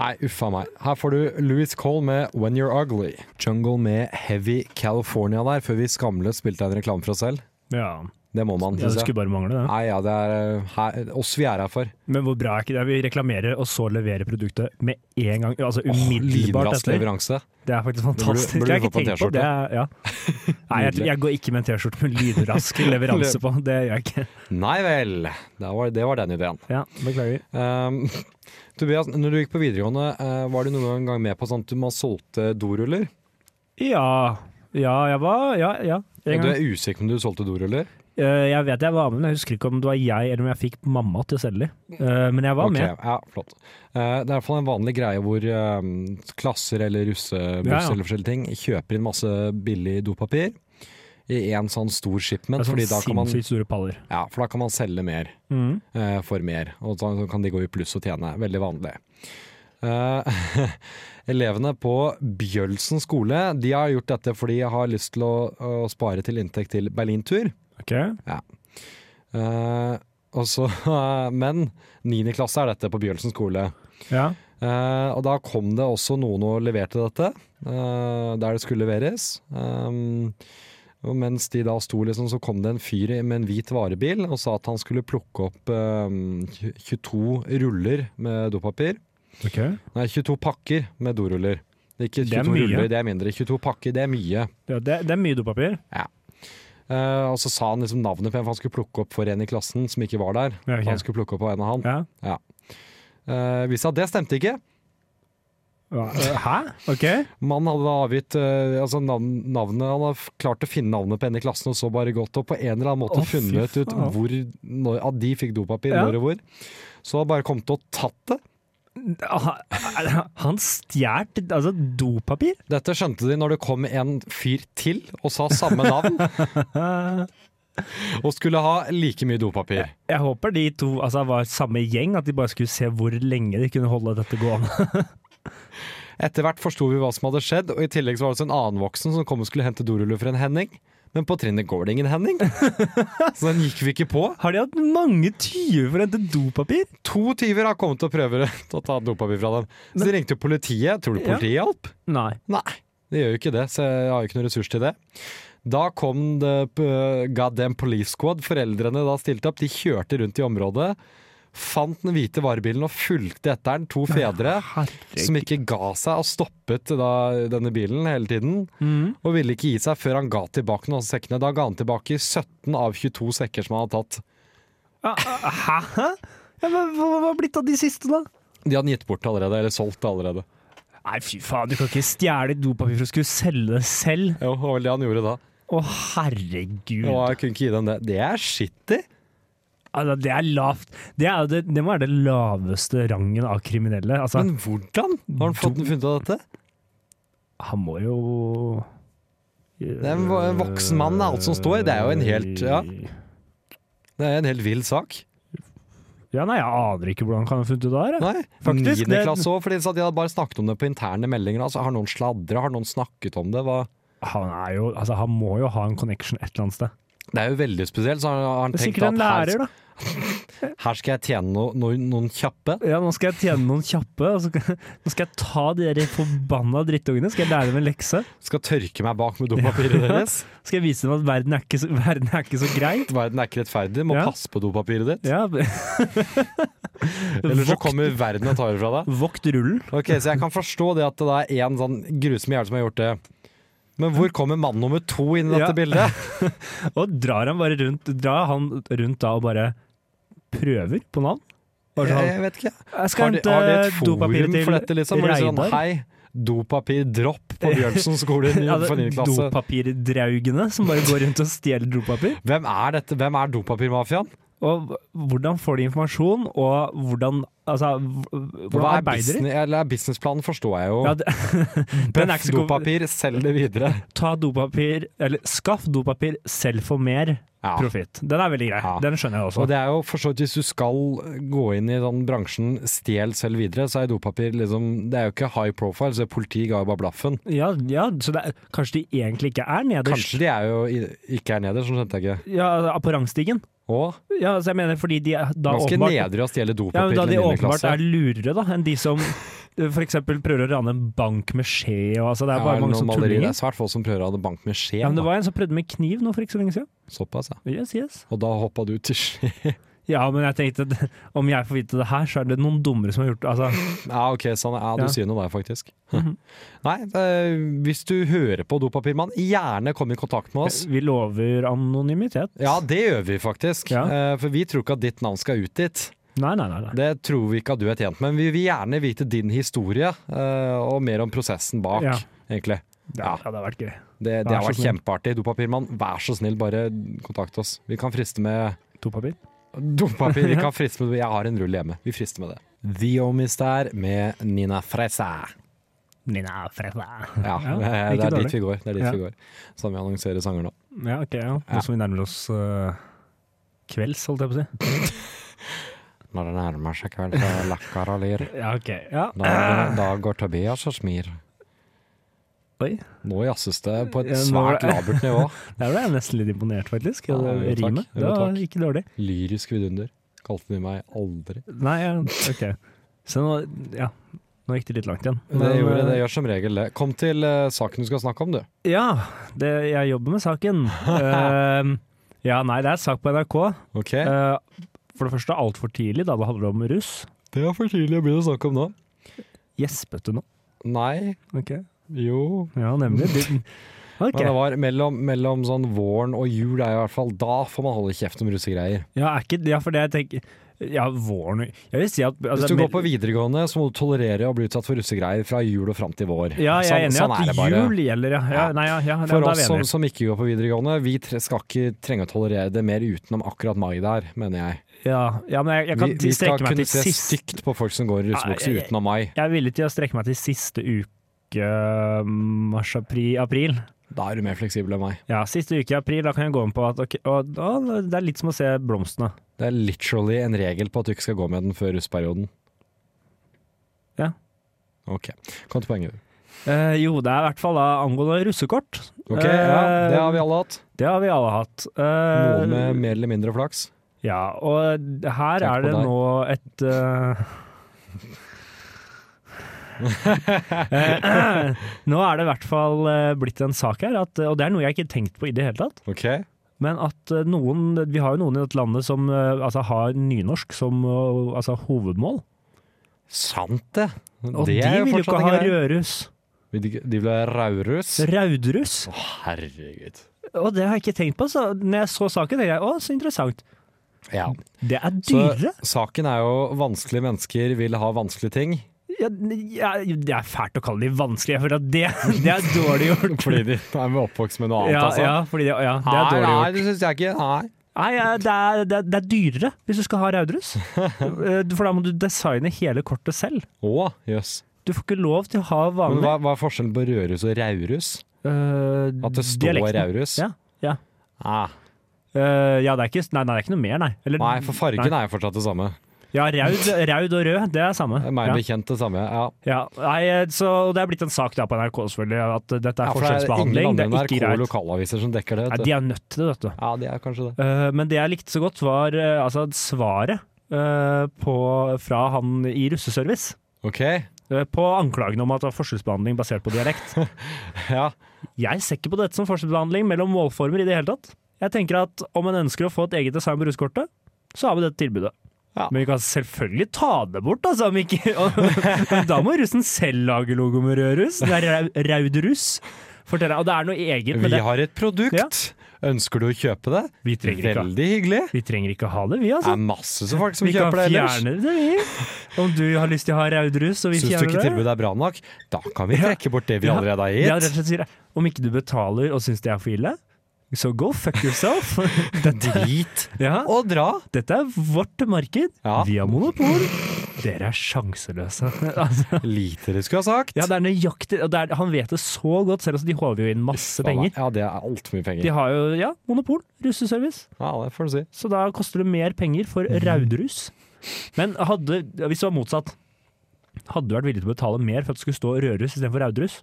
S4: Nei, uffa meg. Her får du Louis Cole med 'When You're Ugly'. Jungle med 'Heavy California' der, før vi skamløst spilte en reklame for oss selv.
S5: Ja,
S4: Det må man,
S5: ja, Det
S4: synes jeg.
S5: skulle bare mangle, det.
S4: Nei, ja, det er eh, her, oss vi er her for.
S5: Men hvor bra er ikke det? Vi reklamerer, og så leverer produktet med en gang. Altså umiddelbart
S4: Lynrask
S5: etter.
S4: leveranse.
S5: Det er faktisk
S4: Det burde-
S5: fantastisk.
S4: burde du
S5: jeg har ikke
S4: fått
S5: tenkt på
S4: en
S5: det. er- Ja. Nei, jeg, jeg går ikke med en T-skjorte med
S4: *laughs*
S5: lydrask leveranse på. Det gjør jeg ikke.
S4: Nei vel. Det var, det var den ideen.
S5: Ja, Beklager.
S4: Um, *laughs* Tobias, når du gikk på videregående, eh, var du noen gang med på sånn at man solgte doruller?
S5: Ja, ja, jeg var Ja, ja. En
S4: Du
S5: gang.
S4: er usikker på om du solgte doruller?
S5: Eh, Jeg vet jeg var med, men jeg husker ikke om det var jeg eller om jeg fikk mamma til å selge de. Eh, Men jeg var
S4: Ok,
S5: med.
S4: Ja, flott. Eh, det er i hvert fall en vanlig greie hvor eh, klasser eller russebuss
S5: Ja, ja.
S4: eller forskjellige ting kjøper inn masse billig dopapir i en sånn stor
S5: Det
S4: shipment,
S5: er
S4: fordi da kan
S5: sånn
S4: man,
S5: sinnssykt store paller.
S4: ja, for da kan man selge mer
S5: Mhm.
S4: eh, for mer, og så så kan de gå i pluss og tjene. Veldig vanlig. Eh, *laughs* elevene på Bjølsen skole de har gjort dette fordi de har lyst til å, å spare til inntekt til Berlintur.
S5: Ok.
S4: Eh, og så, *laughs* men 9. klasse er dette på Bjølsen skole.
S5: Ja.
S4: Eh, og da kom det også noen og leverte dette, eh, der det skulle leveres. Um, og mens de da sto, liksom, så kom det en fyr med en hvit varebil og sa at han skulle plukke opp um, 22 ruller med dopapir.
S5: ok.
S4: Nei, 22 pakker med doruller. Det er ikke 22
S5: Det er mye.
S4: ruller, det er mindre. 22 pakker, det er mye.
S5: Ja, det, det er mye dopapir.
S4: Eh, og så sa han liksom navnet på en, for han skulle plukke opp for en i klassen som ikke var der.
S5: Ja, ok.
S4: Han skulle plukke opp på en av han.
S5: Ja.
S4: Uh, viste seg at det stemte ikke.
S5: Eh, Hæ? Ok.
S4: Mannen hadde da avgitt eh, altså navn, navnet, Han har f- klart å finne navnet på en i klassen, og så bare gått og på en eller annen måte
S5: Å, fy
S4: funnet ut
S5: faen.
S4: hvor, når, at de fikk dopapir
S5: Ja.
S4: når og hvor. Så har bare kommet og tatt det.
S5: Han- Han stjal altså, dopapir?
S4: Dette skjønte de når det kom en fyr til og sa samme
S5: *laughs*
S4: navn, og skulle ha like mye dopapir.
S5: Jeg håper de to altså, var samme gjeng, at de bare skulle se hvor lenge de kunne holde dette gående.
S4: Etter hvert forsto vi hva som hadde skjedd, og i tillegg så var det også en annen voksen som kom og skulle hente doruller for en Henning. Men på trinnet går det ingen
S5: *laughs*
S4: Henning, så den gikk vi ikke på.
S5: *laughs* Har de hatt mange tyver for å hente dopapir?
S4: To tyver har kommet og prøver *laughs* å ta dopapir fra dem. Så de ringte jo politiet. Tror du
S5: Ja.
S4: politiet hjalp?
S5: Nei.
S4: Nei, det gjør jo ikke det, så jeg har jo ikke noen ressurs til det. Da kom det p- goddamn police squad. Foreldrene da stilte opp. De kjørte rundt i området. Fant den hvite varebilen og fulgte etter den. To fedre som ikke ga seg og stoppet da denne bilen hele tiden. Og ville ikke gi seg før han ga tilbake noen av sekkene. Da ga han tilbake 17 av 22 sekker som han hadde tatt.
S5: Hæ? Ja, men hva hva har blitt av de siste, da?
S4: De hadde gitt bort allerede, eller solgt allerede.
S5: Nei, fy faen, du kan ikke stjele dopapir for å skulle selge det selv.
S4: Jo, det var vel det han gjorde da.
S5: Å, herregud.
S4: Og jeg kunne ikke gi dem det. Det er shitty.
S5: Altså, det er lavt. Det, er, jo det, det må være det laveste rangen av kriminelle. Altså,
S4: Men hvordan har han fått funnet ut av dette?
S5: han må jo
S4: Det er en vo- en voksen mann, det er alt som står. Det er jo en helt- ja. Det er en helt vill sak.
S5: Ja, nei, jeg aner ikke hvordan han kan ha funnet ut av det her. jeg.
S4: Nei,
S5: Faktisk,
S4: Niende
S5: det-
S4: klasse òg, for de sa de hadde bare snakket om det på interne meldinger. Altså, har noen sladra? Har noen snakket om det? Hva?
S5: Han, er jo, altså, han må jo ha en connection et eller annet sted.
S4: Det er jo veldig spesielt. Så har han
S5: Det er
S4: tenkt
S5: sikkert
S4: at
S5: en
S4: her,
S5: lærer, da.
S4: her skal jeg tjene no, no, noen kjappe.
S5: Ja, nå skal jeg tjene noen kjappe. og så skal- nå skal jeg ta de der forbanna drittungene, skal jeg lære dem en lekse.
S4: Skal tørke meg bak med
S5: *laughs*
S4: dopapiret deres.
S5: Skal jeg vise dem at verden er ikke så, verden er ikke så grei.
S4: Verden er ikke rettferdig, må
S5: Ja.
S4: passe på dopapiret ditt.
S5: *laughs* Ja.
S4: Eller så
S5: Vokt,
S4: kommer verden og tar det fra deg.
S5: vokt rullen.
S4: Ok, Så jeg kan forstå det at det er én sånn grusom jævel som har gjort det. Men hvor kommer mann nummer to inn i dette
S5: Ja.
S4: bildet?
S5: Og drar han bare rundt Drar han rundt da og bare prøver på navn? Bare
S4: Jeg,
S5: sånn,
S4: jeg vet ikke.
S5: jeg skal
S4: Har de, har de
S5: hente
S4: et
S5: dopapir
S4: forum
S5: til
S4: for dette, liksom? Hvor de sier
S5: Reidar.
S4: sånn, hei, dopapir dropp
S5: *laughs*
S4: på Bjørnsen skole i
S5: Ja, det-
S4: for 9. klasse.
S5: Dopapirdraugene som bare går rundt og stjeler dopapir.
S4: Hvem er dette? Hvem er dopapirmafiaen?
S5: Og hvordan får de informasjon, og hvordan Altså, hv- hvordan
S4: Hva er
S5: arbeider de?
S4: business- eller businessplanen forstår jeg jo.
S5: Ja, det, *laughs* den er
S4: Bøff
S5: ikke så god.
S4: dopapir, selg det videre.
S5: ta dopapir, eller skaff dopapir selv for mer
S4: Ja.
S5: profitt. Den er veldig grei.
S4: Ja.
S5: Den skjønner jeg også.
S4: Og det er jo for så vidt Hvis du skal gå inn i den bransjen stjel selv videre, så er dopapir liksom Det er jo ikke high profile, så politiet ga jo bare blaffen.
S5: Ja, ja, så det er, kanskje de egentlig ikke er nederst
S4: Kanskje de er jo i- ikke er nederst, sånn skjønte jeg ikke.
S5: ja, på rangstigen?
S4: Og
S5: Ja, altså jeg mener fordi de er- da
S4: ganske
S5: åpenbart,
S4: nedrig å stjele
S5: ja,
S4: dopapir
S5: men da
S4: til
S5: de
S4: en niende
S5: åpenbart
S4: klasse.
S5: er lurere da, enn de som f.eks. prøver å rane en bank med skje. Og, altså, det er
S4: Ja,
S5: bare mange
S4: noen
S5: som
S4: malerier. Det
S5: tullinger.
S4: er svært få som prøver å ha det bank med skje.
S5: Ja, men det
S4: da.
S5: var en som prøvde med kniv nå for ikke så lenge siden.
S4: Såpass, ja.
S5: Yes, yes.
S4: Og da hoppa du til skje. *laughs*
S5: Ja, men jeg tenkte at *laughs* om jeg får vite det her, så er det noen dummere som har gjort det. Altså,
S4: Ja, ok, sånn, ja, du
S5: Ja. Mhm.
S4: sier noe der,
S5: *laughs*
S4: faktisk. Nei, eh, hvis du hører på Dopapirmann, gjerne kom i kontakt med oss.
S5: vi lover anonymitet.
S4: Ja, det gjør vi faktisk.
S5: Ja.
S4: Eh, For vi tror ikke at ditt navn skal ut dit.
S5: Nei, nei, nei. nei.
S4: Det tror vi ikke at du er tjent med. Men vi vil gjerne vite din historie, eh, og mer om prosessen bak,
S5: Ja.
S4: egentlig. Ja,
S5: Ja, det hadde vært gøy.
S4: det, det
S5: Vær
S4: har
S5: så
S4: vært
S5: snill.
S4: kjempeartig. Dopapirmann, vær så snill, bare kontakt oss. Vi kan friste med
S5: Dopapir.
S4: Dopapir,
S5: *laughs*
S4: vi kan friste med Jeg har en rull hjemme. Vi frister med det. The Omis der med Nina Fresa.
S5: Nina Freda.
S4: Ja,
S5: Ja,
S4: det er
S5: ikke dårlig.
S4: dit vi går. Det er dit
S5: Ja.
S4: vi går. Så vi annonserer sanger nå.
S5: Ja, ok, ja. Nå som vi nærmer oss eh, kvelds, holdt jeg på å si.
S4: Når det nærmer seg kveld, så
S5: *laughs*
S4: lakker og lir.
S5: Ja, ok. Ja.
S4: Da, da går Tobias og smir.
S5: Oi.
S4: Nå jazzes det på et
S5: Ja, nå var
S4: svært
S5: det-
S4: labert nivå.
S5: Der ble jeg nesten litt imponert, faktisk.
S4: Ja,
S5: Ja, det
S4: jo, takk.
S5: rimet.
S4: Jo,
S5: Det var
S4: takk.
S5: ikke dårlig.
S4: Lyrisk vidunder. Kalte de meg aldri.
S5: Nei, ja, ok. Så nå, ja, nå gikk det litt langt igjen.
S4: Det,
S5: Men,
S4: gjorde, det
S5: eh,
S4: gjør som regel det. Kom til eh, saken du skal snakke om, du.
S5: Ja, det, jeg jobber med
S4: *laughs*
S5: saken. Eh, ja, nei, det er sak på NRK.
S4: Ok?
S5: Eh, for det første altfor tidlig, da det handler om russ.
S4: Det er for tidlig å begynne å snakke om nå.
S5: Gjespet du nå?
S4: Nei.
S5: Ok.
S4: Jo.
S5: Ja,
S4: *laughs*
S5: nemlig. Du- Ok.
S4: Men det var mellom, mellom sånn våren og jul er i hvert fall Da får man holde kjeft om russegreier.
S5: Ja, er ikke, ja, for det jeg tenker Ja, våren Jeg vil si at altså,
S4: Hvis du
S5: mer-
S4: går på videregående, så må du tolerere å bli utsatt for russegreier fra jul og fram til vår.
S5: Ja, jeg
S4: Sånn-
S5: er enig i
S4: sånn er det
S5: at
S4: bare.
S5: jul gjelder, ja. ja,
S4: Ja.
S5: nei, ja, ja
S4: For
S5: da,
S4: oss
S5: da
S4: som,
S5: er vi enige.
S4: som ikke går på videregående, vi tre skal ikke trenge å tolerere det mer utenom akkurat mai der, mener jeg.
S5: Ja, ja, men jeg, jeg
S4: Vi,
S5: kan
S4: vi skal
S5: strekke meg
S4: kunne
S5: til
S4: se
S5: sist
S4: stygt på folk som går i russebukse
S5: Nei, jeg-
S4: utenom mai.
S5: Jeg er villig til å strekke meg til siste uke eh, mars-april.
S4: Da er du mer fleksibel enn meg.
S5: Ja, siste uke i april, da kan jeg gå med på at ok, og, å, det er litt som å se blomstene.
S4: Det er literally en regel på at du ikke skal gå med den før russperioden.
S5: Ja.
S4: Ok. Kom til poenget.
S5: Eh, jo, det er i hvert fall da angående russekort. Eh,
S4: Ok, ja, Det har vi alle hatt.
S5: Det har vi alle hatt. Eh,
S4: Noen med mer eller mindre flaks.
S5: Ja, og her
S4: Tenk
S5: er
S4: på
S5: det
S4: deg.
S5: nå et eh, *laughs* eh, *clears throat* Nå er det i hvert fall eh, blitt en sak her, at, og det er noe jeg ikke har tenkt på i det hele tatt.
S4: Ok.
S5: Men at eh, noen Vi har jo noen i dette landet som eh, altså, har nynorsk som eh, altså, hovedmål.
S4: Sant det!
S5: Og
S4: det
S5: de
S4: er jo
S5: vil jo
S4: fortsatt en
S5: ikke ha
S4: greie.
S5: rødruss.
S4: Vil De de vil ha raurus.
S5: Raudruss.
S4: Å, herregud.
S5: Og det har jeg ikke tenkt på. Så når jeg så saken, tenkte jeg å, så interessant.
S4: Ja.
S5: Det er
S4: Så
S5: dyrere.
S4: saken er jo vanskelige mennesker vil ha vanskelige ting.
S5: Ja, ja, det er fælt å kalle de vanskelige, for at det, *laughs* det er dårlig gjort.
S4: Fordi *laughs* de er oppvokst med noe annet,
S5: Ja,
S4: altså.
S5: ja, fordi det, ja, det er dårlig
S4: Nei, nei,
S5: gjort.
S4: det syns jeg ikke. Nei.
S5: Nei, ja, det, er, det, er, det er dyrere hvis du skal ha Raudruss.
S4: *laughs*
S5: Eh, For da må du designe hele kortet selv.
S4: Å, jøss.
S5: Du får ikke lov til å ha
S4: Men
S5: vanlig
S4: hva, hva er forskjellen på Rørus og Raurus?
S5: eh,
S4: At det står
S5: dialekten.
S4: Raurus?
S5: Ja, ja.
S4: Ah,
S5: Eh, ja, det er ikke, nei, nei, det er ikke noe mer, nei. Eller,
S4: nei, for fargen er jo fortsatt det samme.
S5: Ja, raud, raud og rød, det er samme.
S4: Det er Meg
S5: Ja.
S4: bekjent det samme. Ja.
S5: Ja, nei, eh, så Det er blitt en sak da på NRK selvfølgelig, at dette er
S4: Ja, for det er ingen
S5: forskjellsbehandling.
S4: andre
S5: Det er
S4: NRK
S5: ikke greit.
S4: lokalaviser som dekker det.
S5: Nei,
S4: Vet du.
S5: de er nødt til det, vet du.
S4: Ja, de er kanskje det.
S5: Eh, men det jeg likte så godt, var eh, altså, svaret eh, på, fra han i russeservice.
S4: Ok,
S5: eh, På anklagene om at det var forskjellsbehandling basert på dialekt.
S4: ja.
S5: Jeg ser ikke på dette som forskjellsbehandling mellom målformer i det hele tatt. Jeg tenker at om en ønsker å få et eget design på russekortet, så har vi dette tilbudet.
S4: Ja.
S5: Men vi kan selvfølgelig ta det bort, altså. Om ikke. *laughs* Men da må russen selv lage logo med rød russ. Det er rau- raud russ. Fortell deg. Og det er noe eget med
S4: Vi
S5: det.
S4: har et produkt. Ønsker du å kjøpe det?
S5: Vi trenger ikke,
S4: Veldig hyggelig.
S5: vi trenger ikke ha det, vi,
S4: Det
S5: altså.
S4: er masse som folk som
S5: Vi kan
S4: kjøper det ellers.
S5: fjerne det, vi. Om du har lyst til å ha raud russ, og vi
S4: Syns du ikke
S5: fjerner det.
S4: tilbudet er bra nok? Da kan vi trekke bort det vi
S5: Ja.
S4: allerede
S5: Vi
S4: har
S5: har rett og
S4: gitt.
S5: slett sier det. Om ikke du betaler og syns det er for ille, så go fuck
S4: *laughs*
S5: yourself. Dette,
S4: Drit
S5: ja,
S4: og dra.
S5: dette er vårt marked.
S4: Ja.
S5: Vi har monopol. Dere er sjanseløse. *laughs* Altså,
S4: Lite du skulle ha sagt.
S5: ja, det er nøyaktig. Og det er, han vet det så godt, selv om de håver jo inn masse penger.
S4: Ja, det er altfor mye penger.
S5: De har jo ja, monopol, russeservice,
S4: Ja, det får du si.
S5: så da koster det mer penger for raudrus. Men hadde, ja, hvis det var motsatt, hadde du vært villig til å betale mer for at det skulle stå rødrus istedenfor raudrus?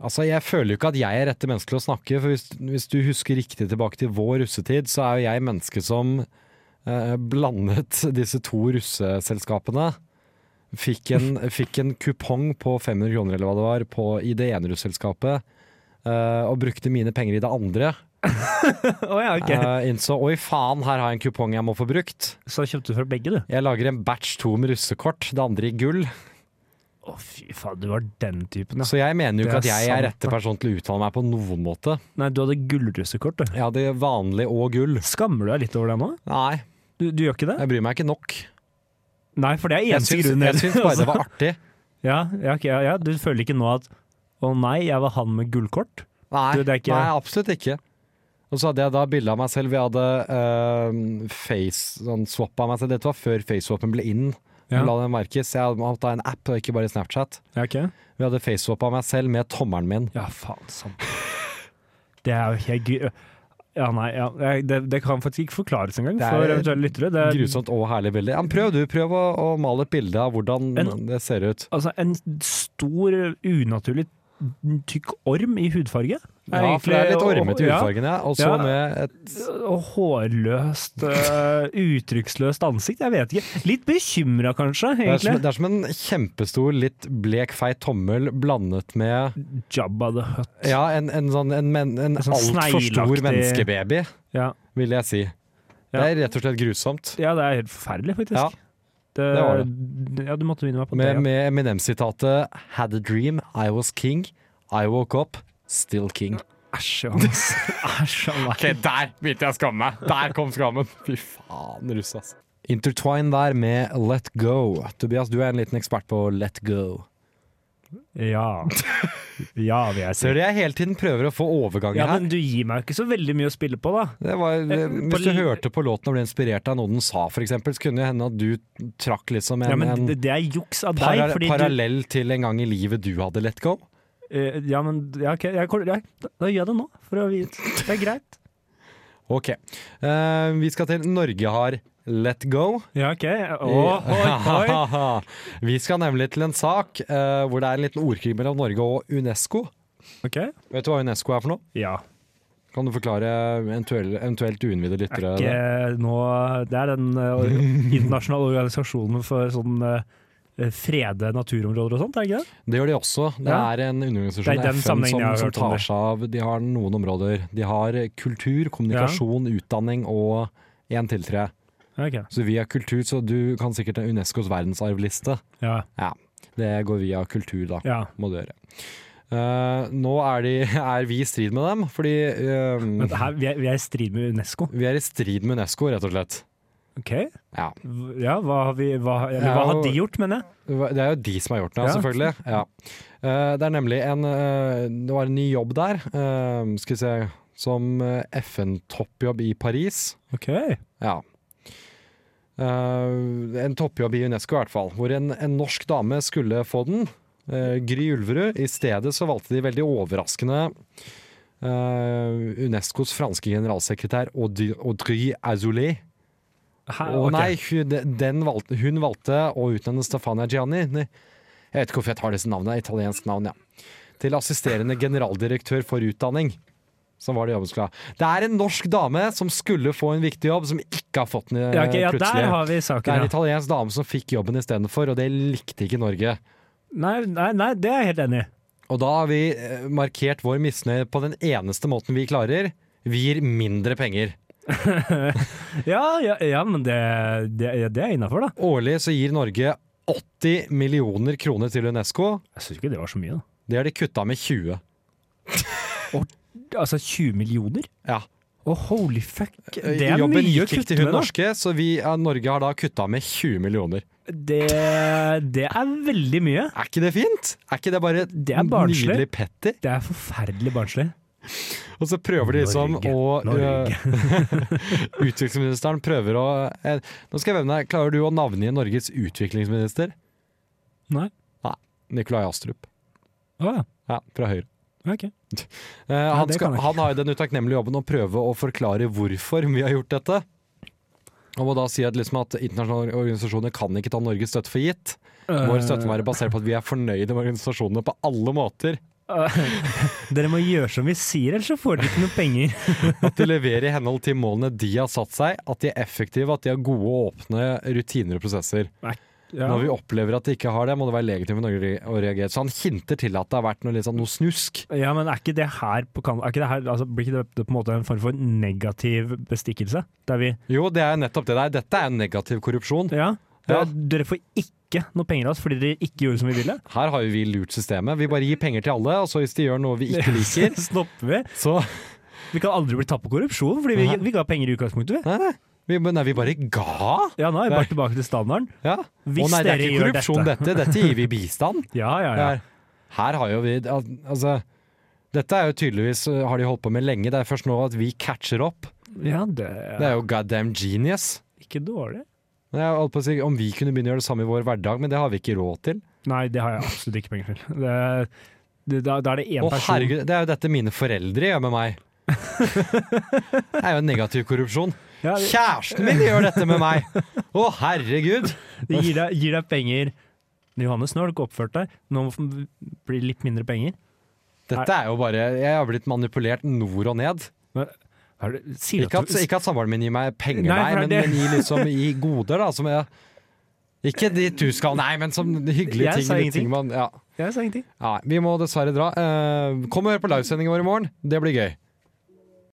S4: Altså, Jeg føler jo ikke at jeg er rette menneske til å snakke, for hvis, hvis du husker riktig tilbake til vår russetid, så er jo jeg menneske som eh, blandet *laughs* disse to russeselskapene. Fikk
S5: *laughs*
S4: en, fikk en kupong på 500 kroner eller hva det var, på, i det ene russeselskapet. eh, og brukte mine penger i det andre.
S5: *laughs* Å ja, ok.
S4: Eh, innså oi faen, her har jeg en kupong jeg må få brukt.
S5: Så kjøpte du fra begge, du.
S4: Jeg lager en batch to med russekort, det andre i gull.
S5: Å, fy faen, du var den typen, ja.
S4: Så jeg mener jo
S5: Det er
S4: ikke at jeg er
S5: sant,
S4: rette
S5: da.
S4: person til å uttale meg på noen måte.
S5: Nei, du hadde gullrussekort, du.
S4: Jeg hadde vanlig og gull.
S5: Skammer du deg litt over det nå?
S4: Nei,
S5: Du, du gjør ikke det?
S4: Jeg bryr meg ikke nok.
S5: Nei, for det er
S4: Jeg
S5: eneste
S4: syns,
S5: grunnen.
S4: jeg syns
S5: *laughs*
S4: bare det var artig.
S5: ja, ja, ok, ja, ja, du føler ikke nå at å nei, jeg var han med gullkort?
S4: Nei,
S5: Du, det er ikke-
S4: nei absolutt ikke. Og så hadde jeg da bilde av meg selv. Vi hadde eh, face sånn swap av meg selv. Dette var før faceswapen ble inn.
S5: Ja.
S4: La den merkes. Jeg hadde hatt da en app, og ikke bare Snapchat.
S5: Ja, ok.
S4: Vi hadde faceswap av meg selv med tommelen min.
S5: Ja, faen sant. Det er jo helt gøy. Ja, nei, ja, jeg- det, det kan faktisk ikke forklares engang
S4: Det er
S5: for eventuelle lyttere. Det er
S4: Grusomt og herlig bilde. Ja, men prøv du, prøv å, å male et bilde av hvordan
S5: En-
S4: det ser ut.
S5: altså, en stor, unaturlig tykk orm i hudfarge.
S4: Ja, for det er litt ormete i
S5: Ja.
S4: hudfargen, ja. Og så
S5: Ja.
S4: med et
S5: og hårløst, eh, uttrykksløst ansikt. Jeg vet ikke. Litt bekymra, kanskje,
S4: det er, som,
S5: egentlig.
S4: det er som en kjempestor, litt blek, feit tommel blandet med
S5: Jabba the Hutt.
S4: Ja, en, en, sånn, en, men- en
S5: En sånn
S4: altfor stor
S5: sneglaktig-
S4: menneskebaby,
S5: Ja.
S4: vil jeg si. Det er rett og slett grusomt.
S5: ja, det er helt forferdelig, faktisk.
S4: Ja,
S5: det,
S4: var
S5: Ja, du måtte minne meg på
S4: med
S5: det.
S4: med Eminem-sitatet 'Had a dream, I was king. I woke up, still
S5: *laughs*
S4: king'.
S5: ja.
S4: *laughs*
S5: Æsj, Johannes. Æsj, han
S4: *laughs*
S5: er-
S4: der begynte jeg å skamme meg! Der kom skammen! Fy faen, russ, ass. Intertwine der med Let Go. Tobias, du er en liten ekspert på Let Go.
S5: Ja. Ja, vil jeg si.
S4: Ser du jeg hele tiden prøver å få overganger
S5: Ja,
S4: her?
S5: men du gir meg ikke så veldig mye å spille på, da.
S4: Det var,
S5: Eh, på
S4: hvis du
S5: li-
S4: hørte på låten og ble inspirert av noe den sa, f.eks., så kunne det hende at du trakk liksom en,
S5: Ja, men
S4: en
S5: det, det er juks av
S4: para
S5: deg. Fordi du,
S4: parallell til en gang i livet du hadde let go.
S5: eh, ja, men ja, ok, jeg, kommer- jeg, da, da gjør jeg det nå, for å vite. Det er greit.
S4: Ok. Eh, vi skal til Norge har let go.
S5: Ja, ok. Å,
S4: *laughs*
S5: oi, oi.
S4: vi skal nemlig til en sak eh, hvor det er en liten ordkrig mellom Norge og UNESCO.
S5: Ok.
S4: Vet du hva UNESCO er for noe?
S5: Ja.
S4: Kan du forklare eventuelt, eventuelt uinnvidde lyttere det?
S5: Ikke nå Det er den eh,
S4: *laughs*
S5: or- internasjonale organisasjonen for sånn eh, frede naturområder og sånt, er det ikke det?
S4: Det gjør de også. Det
S5: Ja.
S4: er en
S5: Det
S4: underorganisasjon
S5: er i den
S4: FN som,
S5: sammenhengen jeg har
S4: som
S5: hørt om
S4: tar
S5: det.
S4: seg av De har noen områder. De har kultur, kommunikasjon, utdanning og én til tre.
S5: Ok.
S4: Så via kultur, så du kan sikkert en UNESCOs verdensarvliste.
S5: Ja.
S4: Ja, det går via kultur, da.
S5: ja.
S4: Må du gjøre. Eh, nå er, de, er vi i strid med dem, fordi eh,
S5: Men her, vi, er, vi er i strid med UNESCO.
S4: vi er i strid med UNESCO, rett og slett.
S5: Ok.
S4: Ja.
S5: V- Ja, hva har, vi, hva, eller,
S4: Ja,
S5: hva har
S4: og-
S5: de gjort, mener jeg?
S4: Det er jo de som har gjort det,
S5: Ja.
S4: selvfølgelig. Ja. Eh, Det er nemlig en eh, Det var en ny jobb der, eh, skal vi se, som eh, FN-toppjobb i Paris.
S5: Ok.
S4: Ja. Eh, En toppjobb i UNESCO, i hvert fall. Hvor en, en norsk dame skulle få den. eh, Gry Ulverud. I stedet så valgte de veldig overraskende eh, UNESCOs franske generalsekretær Audrey Audrey Azoulay.
S5: Hæ,
S4: Å
S5: ok.
S4: nei, hun, den valgte, hun valgte å utnevne Stefania Gianni nei, Jeg vet ikke hvorfor jeg tar disse navnene, italiensk navn, ja. Til assisterende generaldirektør for utdanning. Som var det jobben skulle ha. Det er en norsk dame som skulle få en viktig jobb, som ikke har fått den eh,
S5: Ja, ok, ja,
S4: plutselig.
S5: der har vi
S4: det er
S5: saken,
S4: en
S5: ja.
S4: italiensk dame som fikk jobben istedenfor, og det likte ikke Norge.
S5: Nei, nei, nei, det er jeg helt enig i.
S4: Og da har vi eh, markert vår misnøye på den eneste måten vi klarer. Vi gir mindre penger.
S5: Ja, ja, ja, men det, det, ja, det er innafor, da.
S4: Årlig så gir Norge 80 millioner kroner til UNESCO.
S5: Jeg syns ikke det var så mye, da.
S4: Det har de kutta med 20.
S5: Altså 20 millioner?
S4: Ja.
S5: Å, holy fuck. Det er
S4: Jobben
S5: mye å
S4: gikk
S5: kutte
S4: til hun
S5: med, da.
S4: norske, så vi, ja, Norge har da kutta med 20 millioner.
S5: Det, det er veldig mye.
S4: Er ikke det fint? Er ikke det bare
S5: Det er barnslig.
S4: nydelig petty?
S5: Det er forferdelig barnslig.
S4: Og så prøver de liksom
S5: Norge,
S4: å
S5: Norge.
S4: øh, *laughs* Utviklingsministeren prøver å eh, Nå skal jeg vevne deg. Klarer du å navngi Norges utviklingsminister?
S5: Nei.
S4: Nei. Nikolai Astrup.
S5: Å ja.
S4: Ja, fra Høyre.
S5: Ok.
S4: Eh, han, skal,
S5: det kan jeg ikke.
S4: han har jo den utakknemlige jobben å prøve å forklare hvorfor vi har gjort dette. Og må da si at, liksom, at internasjonale organisasjoner kan ikke ta Norges støtte for gitt. Vår
S5: Eh,
S4: støtte må være basert på at vi er fornøyde med organisasjonene på alle måter.
S5: Dere må gjøre som vi sier, ellers så får dere ikke noe penger.
S4: At de leverer i henhold til målene de har satt seg, at de er effektive, at de har gode og åpne rutiner og prosesser. Når vi opplever at de ikke har det, må det være legitimt for Norge å reagere. Så han hinter til at det har vært noe, litt sånn- noe snusk.
S5: Ja, men er ikke det her på kan er ikke det her, altså, Blir ikke det på en måte en form for negativ bestikkelse? Der vi
S4: Jo, det er nettopp det der. Dette er negativ korrupsjon.
S5: Ja.
S4: Ja.
S5: ja. Dere får ikke noe penger av oss fordi dere ikke gjorde som vi
S4: *laughs*
S5: ville.
S4: Her har jo vi lurt systemet. Vi bare gir penger til alle, og så hvis de gjør noe vi ikke
S5: *laughs*
S4: liker,
S5: Så stopper vi.
S4: så
S5: Vi kan aldri bli tatt på korrupsjon, fordi vi, vi ga penger i utgangspunktet, vi.
S4: Nei, nei. Vi, nei, vi bare ga.
S5: Ja, nå er vi bare tilbake til standarden.
S4: Ja.
S5: Hvis
S4: Å nei, det er
S5: dere
S4: ikke
S5: gjør
S4: korrupsjon,
S5: dette.
S4: dette. Dette gir vi bistand.
S5: Ja, ja, ja.
S4: Her, her har jo vi al- Altså, dette er jo tydeligvis uh, Har de holdt på med lenge. Det er først nå at vi catcher opp.
S5: ja det,
S4: Det er jo god damn genius.
S5: er ikke dårlig.
S4: Jeg holdt på å si om vi kunne begynne å gjøre det samme i vår hverdag, men det har vi ikke råd til.
S5: Nei, det har jeg absolutt ikke penger til. Det, det, da, da er det én
S4: Å
S5: person
S4: herregud, Det er jo dette mine foreldre gjør med
S5: *laughs*
S4: meg. Det er jo negativ korrupsjon.
S5: Ja, det-
S4: Kjæresten min gjør dette med
S5: *laughs*
S4: meg! Å herregud!
S5: det gir, deg, gir deg penger. Johannes, nå har du ikke oppført deg. Nå må f- blir det litt mindre penger.
S4: Dette er jo bare Jeg har blitt manipulert nord og ned.
S5: Men, har du, sier du
S4: Ikke
S5: at
S4: at,
S5: du,
S4: ikke at samboeren min gir meg penger, nei,
S5: Nei, for
S4: men,
S5: det er
S4: men gir liksom i goder, da. Som jeg, ikke dit du skal, nei, men som hyggelige
S5: Jeg
S4: ting.
S5: sa
S4: litt
S5: ingenting.
S4: ting man, ja.
S5: Jeg sa ingenting.
S4: Nei, vi må dessverre dra. Eh, kom og hør på livesendingen vår i morgen. Det blir gøy.